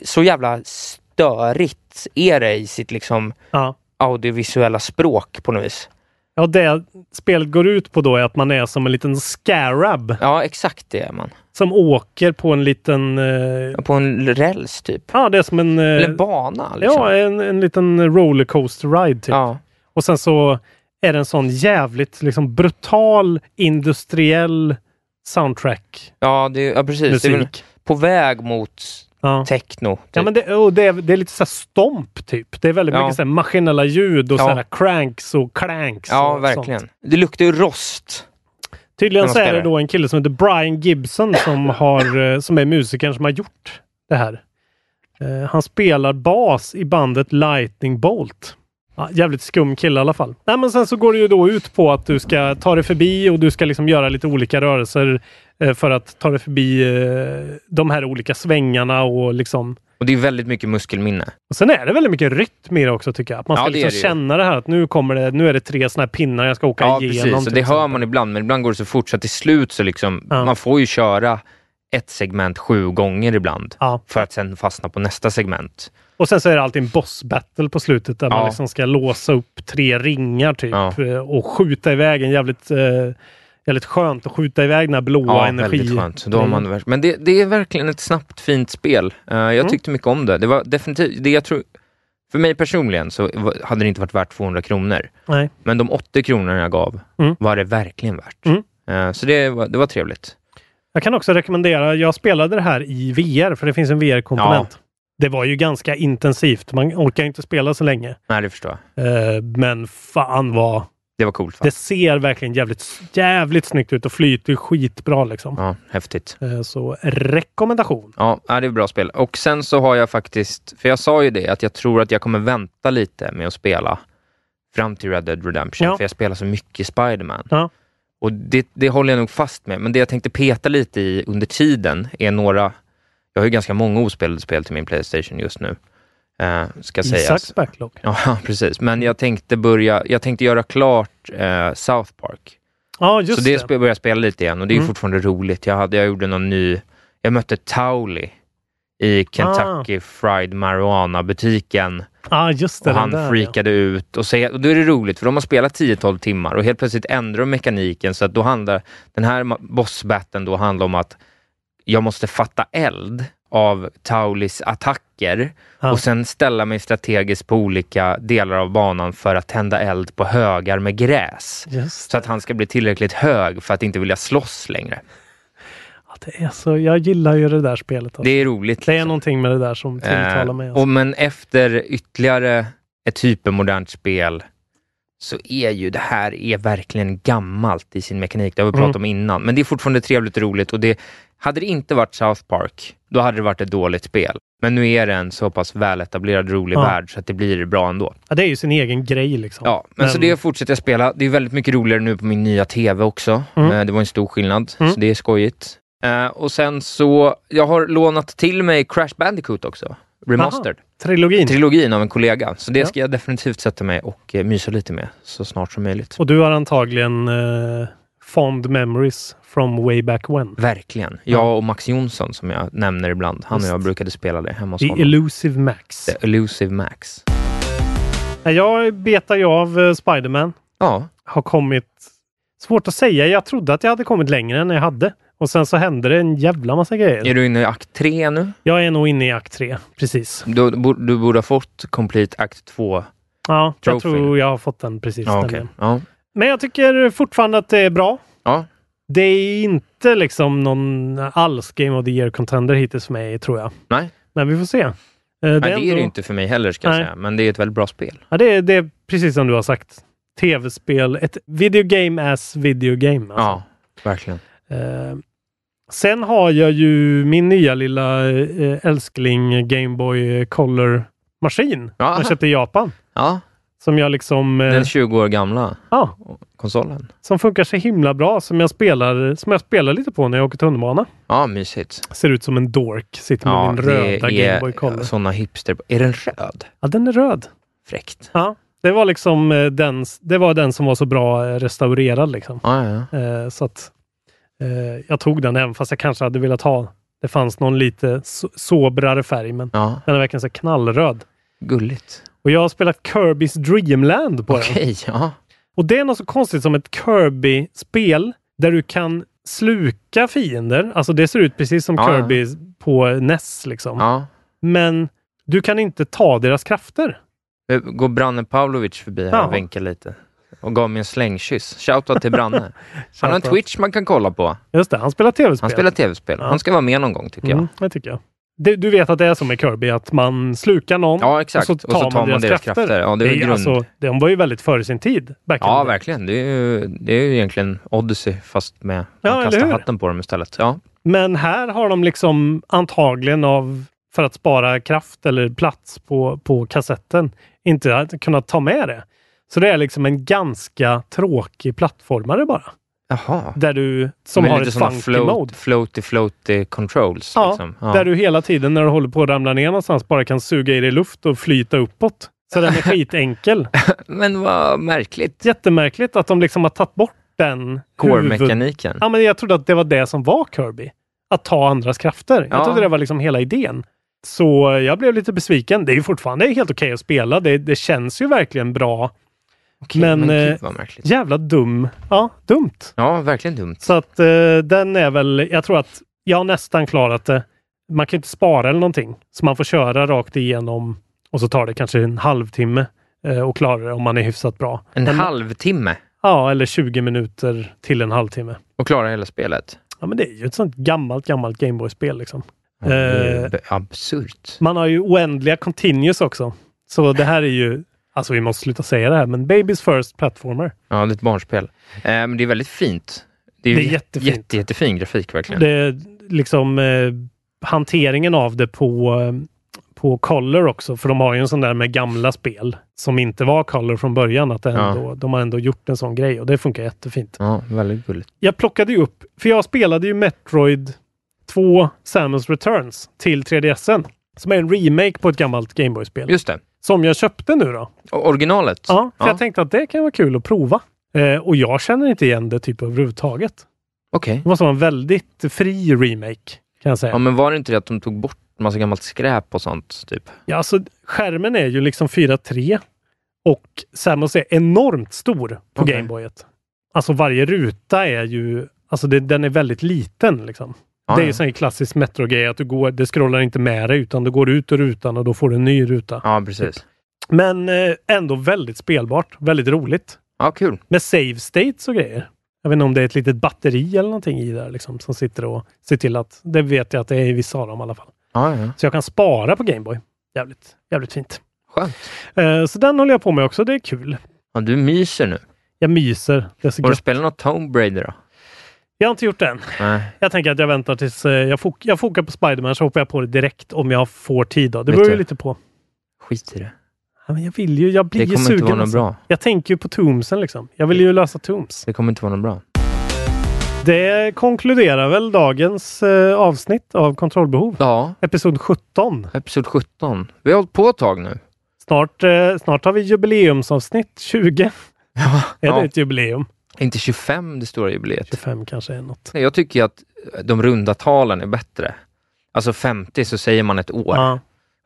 D: Så jävla störigt är det i sitt liksom
E: Ja.
D: audiovisuella språk på något vis.
E: ja, det spelet går ut på då är att man är som en liten scarab
D: Ja, exakt det är man.
E: som åker på en liten... Eh,
D: På en räls typ.
E: ja, det är som en... eh,
D: Eller bana liksom.
E: ja, eh, typ. en, en liten rollercoaster ride typ.
D: ja.
E: Och sen så är det en sån jävligt liksom brutal industriell soundtrack
D: ja, det, ja precis. Det är väl
E: musik.
D: på väg mot
E: Ja.
D: techno. Typ.
E: Ja, men det, och det, är, det är lite så här stomp typ. Det är väldigt
D: Ja.
E: mycket så här maskinella ljud och
D: Ja.
E: så här cranks och clanks.
D: ja
E: och
D: verkligen.
E: Sånt.
D: Det luktar ju rost.
E: Tydligen
D: När man
E: så är det
D: spelar.
E: då en kille som heter Brian Gibson som, har, eh, som är musikern som har gjort det här. Eh, han spelar bas i bandet Lightning Bolt. Ja, jävligt skum kille i alla fall. Nej, men sen så går det ju då ut på att du ska ta dig förbi och du ska liksom göra lite olika rörelser eh, för att ta dig förbi eh, de här olika svängarna och liksom
D: Och det är väldigt mycket muskelminne.
E: och sen är det väldigt mycket rytm i det också tycker jag. Att man
D: Ja,
E: ska
D: det är
E: liksom
D: det ju.
E: känna det här att nu kommer det, nu är det tre såna här pinnar jag ska åka
D: Ja,
E: igenom. typ
D: precis. Och
E: till
D: det hör
E: exempel.
D: man ibland, men ibland går det så fort så att till slut så liksom,
E: Ja.
D: man får ju köra ett segment sju gånger ibland.
E: Ja.
D: För att sen fastna på nästa segment.
E: Och sen så är det alltid en boss battle på slutet där man
D: Ja.
E: liksom ska låsa upp tre ringar typ
D: Ja.
E: eh, och skjuta iväg en jävligt, eh, jävligt skönt att skjuta iväg den här blåa
D: Ja,
E: energi. Mm.
D: väldigt skönt. Då har man, verk- men det, det är verkligen ett snabbt, fint spel. Eh, jag
E: Mm.
D: tyckte mycket om det. Det var definitivt, det jag tror, för mig personligen så var- hade det inte varit värt 200 kronor.
E: Nej.
D: Men de 80 kronorna jag gav
E: Mm.
D: var det verkligen värt.
E: Mm.
D: Eh, så det var, det var trevligt.
E: Jag kan också rekommendera, jag spelade det här i VR för det finns en VR-komponent. Det var ju ganska intensivt, man orkar ju inte spela så länge.
D: Nej, det förstår jag.
E: Eh, men fan vad
D: Det var coolt.
E: Det
D: Fan.
E: ser verkligen jävligt, jävligt snyggt ut och flyter skitbra liksom.
D: Ja, häftigt.
E: Eh, Så rekommendation.
D: Ja, ja, det är ett bra spel. Och sen så har jag faktiskt, för jag sa ju det, att jag tror att jag kommer vänta lite med att spela fram till Red Dead Redemption,
E: Ja.
D: för jag spelar så mycket Spider-Man.
E: Ja.
D: Och det, det håller jag nog fast med, men det jag tänkte peta lite i under tiden är några, jag har ju ganska många ospelade spel till min Playstation just nu, eh, ska sägas.
E: Isaks backlog.
D: Ja, precis. Men jag tänkte börja, jag tänkte göra klart eh, South Park
E: Ja, just
D: så det,
E: det.
D: spe- började jag spela lite igen och det är ju
E: Mm.
D: fortfarande roligt. Jag, hade, jag gjorde någon ny... Jag mötte Towley i Kentucky
E: Ah.
D: Fried Marijuana-butiken
E: ja, just det.
D: och
E: den
D: han
E: där,
D: freakade ut. Och, säger, och då är det roligt, för de har spelat 10-12 timmar och helt plötsligt ändrar de mekaniken så att då handlar den här ma- bossbatten då handlar om att jag måste fatta eld av Taulis attacker
E: Ja.
D: och sen ställa mig strategiskt på olika delar av banan för att tända eld på högar med gräs.
E: ja. Just.
D: Så att han ska bli tillräckligt hög för att inte vilja slåss längre.
E: Ja, det är så, jag gillar ju det där spelet. Alltså.
D: Det
E: Det,
D: är roligt.
E: är
D: liksom.
E: någonting med det där som tilltalar
D: Eh,
E: mig. Alltså.
D: och men efter ytterligare ett hypermodernt spel så är ju det här är verkligen gammalt i sin mekanik. Det har vi pratat
E: Mm.
D: om innan. Men det är fortfarande trevligt och roligt. Och det, hade det inte varit South Park, då hade det varit ett dåligt spel. Men nu är det en så pass väletablerad, rolig
E: Ja.
D: värld så att det blir bra ändå.
E: ja, det är ju sin egen grej liksom.
D: Ja, men, så det fortsätter jag spela. Det är väldigt mycket roligare nu på min nya TV också.
E: Mm.
D: Eh, Det var en stor skillnad,
E: Mm.
D: så det är skojigt. Eh, och sen så, jag har lånat till mig Crash Bandicoot också. Remastered.
E: Trilogin.
D: Trilogin av en kollega. Så det
E: Ja.
D: ska jag definitivt sätta mig och eh, mysa lite med så snart som möjligt.
E: och du har antagligen eh, fond memories from way back when.
D: Verkligen. Jag och Max Jonsson som jag nämner ibland, han och jag brukade spela det hemma hos
E: The
D: honom.
E: Elusive Max.
D: The Elusive Max.
E: Nej, Jag betar ju av eh, Spiderman.
D: Ja,
E: Har kommit... Svårt att säga. Jag trodde att jag hade kommit längre än jag hade. Och sen så hände det en jävla massa grejer.
D: är du inne i akt 3 nu?
E: Jag är nog inne i akt 3. Precis.
D: Du, du borde- du borde ha fått Complete akt 2.
E: Ja, jag
D: Trophy.
E: tror jag har fått den precis.
D: Ja, okej.
E: nämligen.
D: Ja.
E: Men jag tycker fortfarande att det är bra.
D: Ja.
E: Det är inte liksom någon alls Game of the Year contender hittills för mig, tror jag.
D: Nej.
E: Men vi får se. Eh,
D: Nej, det är det
E: ändå-
D: ju inte för mig heller, ska jag
E: Nej.
D: säga. Men det är ett väldigt bra spel.
E: Ja, det, är, det är precis som du har sagt. Tv-spel, ett videogame as videogame. Alltså.
D: Ja, verkligen.
E: Eh, sen har jag ju min nya lilla eh, älskling Gameboy Color-maskin.
D: Ja.
E: Jag köpte i Japan.
D: Ja,
E: Som jag liksom... Eh,
D: den 20 år gamla
E: ja,
D: konsolen.
E: som funkar så himla bra. Som jag spelar, som jag spelar lite på när jag åker tunnelbana.
D: Ja, mysigt.
E: Ser ut som en dork. Sitter med
D: Ja,
E: min röda Gameboy Color.
D: är såna hipster... Är den röd?
E: Ja, den är röd.
D: Fräckt.
E: Ja, det var liksom eh, den, det var den som var så bra eh, restaurerad liksom.
D: Ja, ja, ja.
E: Eh, så att eh, jag tog den även fast jag kanske hade velat ha. Det fanns någon lite so- sobrare färg, men
D: ja
E: den är verkligen så här knallröd.
D: gulligt.
E: Och jag har spelat Kirby's Dreamland på den.
D: Okej, ja.
E: Och det är något så konstigt som ett Kirby-spel där du kan sluka fiender. Alltså det ser ut precis som
D: Ja, ja.
E: Kirby på NES liksom.
D: ja.
E: Men du kan inte ta deras krafter.
D: Nu Eh, Går Branne Pavlovic förbi här
E: Ja.
D: och vinkar lite. Och gav mig en slängkyss. Shoutout till Branne. Han har en
E: Shoutout.
D: Twitch man kan kolla på.
E: Alltså, Just det, han spelar tv-spel.
D: Han spelar tv-spel. Han ska vara med någon gång, tycker jag.
E: Mm, det tycker jag. Det, du vet att det är som med Kirby, att man slukar någon
D: Ja, exakt.
E: och så tar, man, deras krafter.
D: Ja, det är
E: ju
D: grund.
E: de var ju väldigt före sin tid. Back in
D: Ja,
E: the day.
D: verkligen. Det är, ju, det är ju egentligen Odyssey, fast med
E: Ja,
D: att
E: eller
D: kasta
E: hur?
D: hatten på dem istället. Ja,
E: Men här har de liksom antagligen av, för att spara kraft eller plats på, på kassetten, inte att kunna ta med det. Så det är liksom en ganska tråkig plattformare bara.
D: jaha.
E: Där du, som
D: Men
E: har
D: lite
E: ett
D: såna
E: funky mode.
D: float, floaty, floaty controls.
E: Ja,
D: liksom. ja.
E: Där du hela tiden när du håller på att ramla ner någonstans bara kan suga i dig luft och flyta uppåt. Så den är skitenkel.
D: Men vad märkligt.
E: Jättemärkligt att de liksom har tagit bort den huvud-
D: Core-mekaniken.
E: Ja, men jag trodde att det var det som var Kirby. Att ta andras krafter. Jag
D: Ja.
E: trodde det var liksom hela idén. Så jag blev lite besviken. Det är ju fortfarande helt okej att spela. Det, det känns ju verkligen bra.
D: Okej,
E: men, eh,
D: gud vad märkligt.
E: Jävla dum. Ja, dumt.
D: Ja, verkligen dumt.
E: Så att eh, den är väl, jag tror att jag har nästan klarat det. Man kan ju inte spara eller någonting. Så man får köra rakt igenom och så tar det kanske en halvtimme eh, och klarar det om man är hyfsat bra.
D: En
E: Men-
D: halvtimme
E: Ja, eller 20 minuter till en halvtimme.
D: och klara hela spelet.
E: Ja, men det är ju ett sånt gammalt, gammalt Gameboy-spel liksom.
D: Ja, det är ju
E: Eh.
D: b- absurt.
E: Man har ju oändliga continues också. Så det här är ju, alltså vi måste sluta säga det här, men Babies First Platformer.
D: Ja, det är ett barnspel. Eh, Men det är väldigt fint. Det är,
E: Det är
D: ju
E: jättefint.
D: Jätte, jättefin grafik verkligen.
E: Det är liksom eh, hanteringen av det på, eh, på Color också, för de har ju en sån där med gamla spel som inte var Color från början. Att det
D: Ja.
E: ändå, De har ändå gjort en sån grej och det funkar jättefint.
D: Ja, väldigt gulligt.
E: Jag plockade ju upp, för jag spelade ju Metroid 2 Samus Returns till 3DSen. Som är en remake på ett gammalt Gameboy-spel.
D: Just det.
E: Som jag köpte nu då.
D: Och originalet.
E: Ja, för jag tänkte att det kan vara kul att prova. Eh, och jag känner inte igen det typ överhuvudtaget.
D: Okej.
E: Det måste vara en väldigt fri remake, kan jag säga.
D: Ja, men var det inte det att de tog bort massa gammalt skräp och sånt, typ?
E: Ja, alltså, skärmen är ju liksom 4.3 och Samus är enormt stor på
D: Okej.
E: Gameboyet. Alltså varje ruta är ju, alltså det, den är väldigt liten liksom.
D: Ja,
E: det är
D: ja.
E: ju sån här klassisk Metro-grej att du går, det scrollar inte med dig utan du går ut ur rutan och då får du en ny ruta.
D: Ja, precis.
E: Men eh, ändå väldigt spelbart, väldigt roligt.
D: Ja, kul.
E: Med save states och grejer. Jag vet inte om det är ett litet batteri eller någonting i där liksom som sitter och ser till att, det vet jag att det är i vissa av dem i alla fall.
D: Ja, ja.
E: Så jag kan spara på Gameboy. Jävligt, jävligt fint.
D: Skönt.
E: Eh, Så den håller jag på med också. Det är kul.
D: Ja, du myser nu.
E: Jag myser. Det är så
D: Har du
E: gött.
D: spelat något Tomb Raider då?
E: Jag har inte gjort det än.
D: Nej.
E: Jag tänker att jag väntar tills eh, jag, fok- jag fokar på Spiderman så hoppar jag på det direkt om jag får tid. Då. Det
D: Vet
E: beror
D: du-
E: ju lite på.
D: Skit i det.
E: Ja, men jag vill ju. Jag blir
D: Det
E: ju
D: kommer
E: sugen.
D: inte vara något
E: alltså.
D: bra.
E: Jag tänker ju på Toomsen liksom. Jag vill ju lösa Tooms.
D: Det kommer inte vara något bra.
E: Det konkluderar väl dagens eh, avsnitt av Kontrollbehov.
D: Ja,
E: Episod 17.
D: episod 17. Vi har hållit på ett tag nu.
E: Snart, eh, snart har vi jubileumsavsnitt 20. är
D: ja.
E: det ett jubileum?
D: Inte 25 det stora jubileet.
E: 25 kanske är något.
D: Jag tycker ju att de runda talen är bättre. Alltså 50 så säger man ett år.
E: Ja.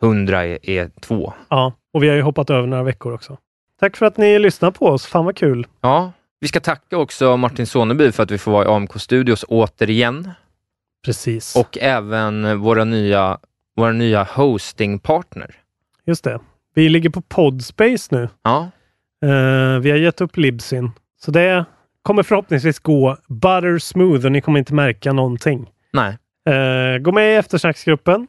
D: 100 är, är två.
E: ja, och vi har ju hoppat över några veckor också. Tack för att ni lyssnar på oss. Fan vad kul.
D: Ja. Vi ska tacka också Martin Soneby för att vi får vara i AMK Studios återigen.
E: Precis.
D: Och även våra nya, våra nya hostingpartner.
E: Just det. Vi ligger på Podspace nu.
D: Ja.
E: Eh, vi har gett upp Libsyn. Så det kommer förhoppningsvis gå butter smooth och ni kommer inte märka någonting.
D: Nej.
E: Eh, gå med i eftersnacksgruppen.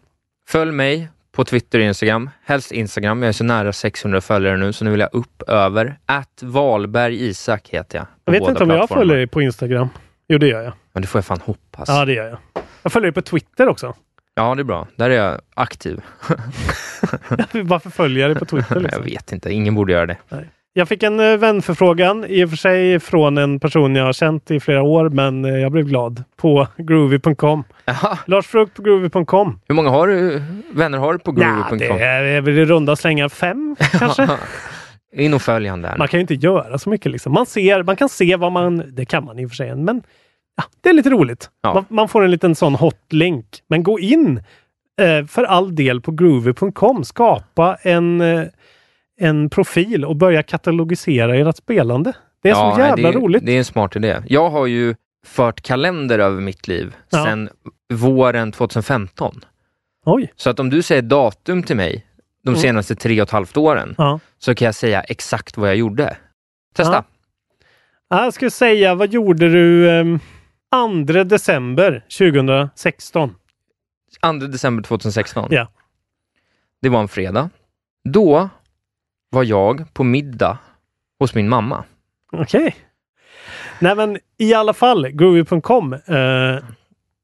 D: Följ mig på Twitter och Instagram. Helst Instagram. Jag är så nära 600 följare nu, så nu vill jag upp över. Att Valberg Isak heter jag. på
E: Jag vet
D: båda
E: inte om jag
D: plattformar.
E: följer dig på Instagram. Jo, det gör jag.
D: Men det får jag fan hoppas.
E: Ja, det gör jag. Jag följer dig på Twitter också.
D: Ja, det är bra. Där är jag aktiv.
E: Varför följer jag dig på Twitter?
D: jag
E: Liksom?
D: vet inte. Ingen borde göra det.
E: Jag fick en eh, vänförfrågan, i och för sig från en person jag har känt i flera år, men eh, jag blev glad. På groovy.com.
D: Jaha.
E: Lars Frukt på groovy.com.
D: Hur många har du, vänner har du på
E: Nja,
D: groovy.com?
E: det är är väl i runda slängar fem kanske.
D: In och följ han där.
E: Man kan ju inte göra så mycket. Liksom. Man, ser, man kan se vad man... Det kan man i och för sig, men ja, det är lite roligt.
D: Ja.
E: Man, man får en liten sån hotlink. Men gå in eh, för all del på groovy.com. Skapa en, eh, en profil och börja katalogisera ert spelande. Det är
D: Ja,
E: så
D: nej,
E: jävla
D: det är,
E: roligt.
D: Det är en smart idé. Jag har ju fört kalender över mitt liv
E: Ja.
D: sedan våren 2015.
E: Oj!
D: Så att om du säger datum till mig de
E: Mm.
D: senaste tre och ett halvt åren
E: Ja.
D: så kan jag säga exakt vad jag gjorde. Testa!
E: Ja. Ja, Jag skulle säga, vad gjorde du ehm, 2 december 2016?
D: 2 december 2016.
E: Ja.
D: Det var en fredag. Då var jag på middag hos min mamma.
E: Okej. Nej men i alla fall, groovy.com. Eh,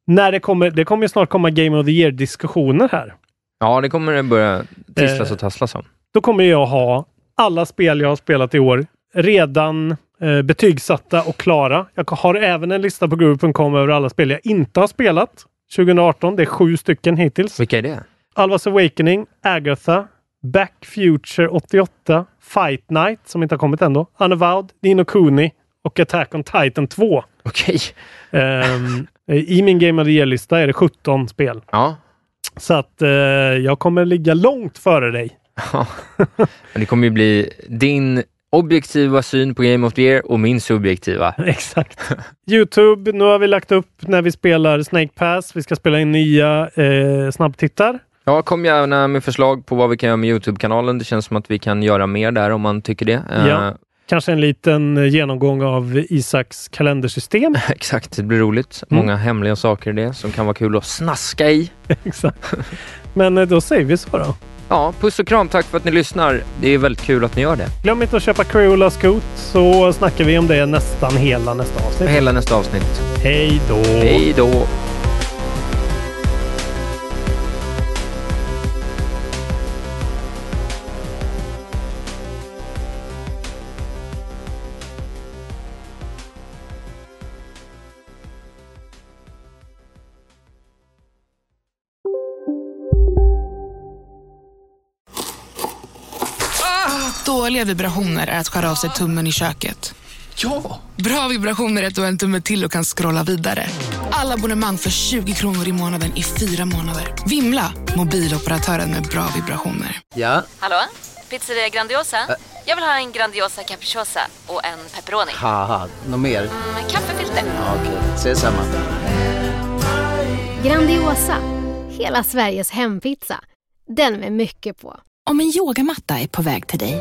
E: när det kommer, det kommer ju snart komma Game of the Year-diskussioner här.
D: Ja, det kommer det börja tisslas
E: Eh.
D: och tasslas om.
E: Då kommer jag ha alla spel jag har spelat i år redan eh, betygsatta och klara. Jag har även en lista på groovy.com över alla spel jag inte har spelat 2018. Det är sju stycken hittills.
D: Vilka är det?
E: Alvas Awakening, Agatha, Back Future 88, Fight Night, som inte har kommit ändå, Unavowed, Nino Kuni och Attack on Titan 2.
D: Okej.
E: Ehm, I min Game of the Year-lista är det 17 spel.
D: Ja,
E: Så att eh, jag kommer ligga långt före dig.
D: men det kommer ju bli din objektiva syn på Game of the Year och min subjektiva.
E: Exakt. Youtube, nu har vi lagt upp när vi spelar Snake Pass. Vi ska spela in nya eh, snabbtittar.
D: Ja, kom gärna med förslag på vad vi kan göra med Youtube-kanalen. Det känns som att vi kan göra mer där om man tycker det. Eh,
E: Ja. Kanske en liten eh, genomgång av Isaks kalendersystem.
D: Exakt, det blir roligt.
E: Mm.
D: Många hemliga saker i det som kan vara kul att snaska i.
E: Exakt. Men eh, då säger vi så då.
D: Ja, puss och kram. Tack för att ni lyssnar. Det är väldigt kul att ni gör det.
E: Glöm inte att köpa Crayola Scoot så snackar vi om det nästan hela nästa avsnitt.
D: Hela nästa avsnitt.
E: Hej då!
D: Hej då!
H: Dåliga vibrationer är att skära av sig tummen i köket.
C: Ja!
H: Bra vibrationer är att du har en tumme till och kan scrolla vidare. Alla abonnemang för 20 kronor i månaden i fyra månader. Vimla! Mobiloperatören med bra vibrationer.
C: Ja,
I: Hallå? Pizzeria Grandiosa? Jag vill ha en Grandiosa capriciosa och en pepperoni.
C: haha, något mer?
I: Med kaffefilter.
C: Ja, Okej, ses samma.
J: Grandiosa, hela Sveriges hempizza. Den med mycket på.
K: Om en yogamatta är på väg till dig,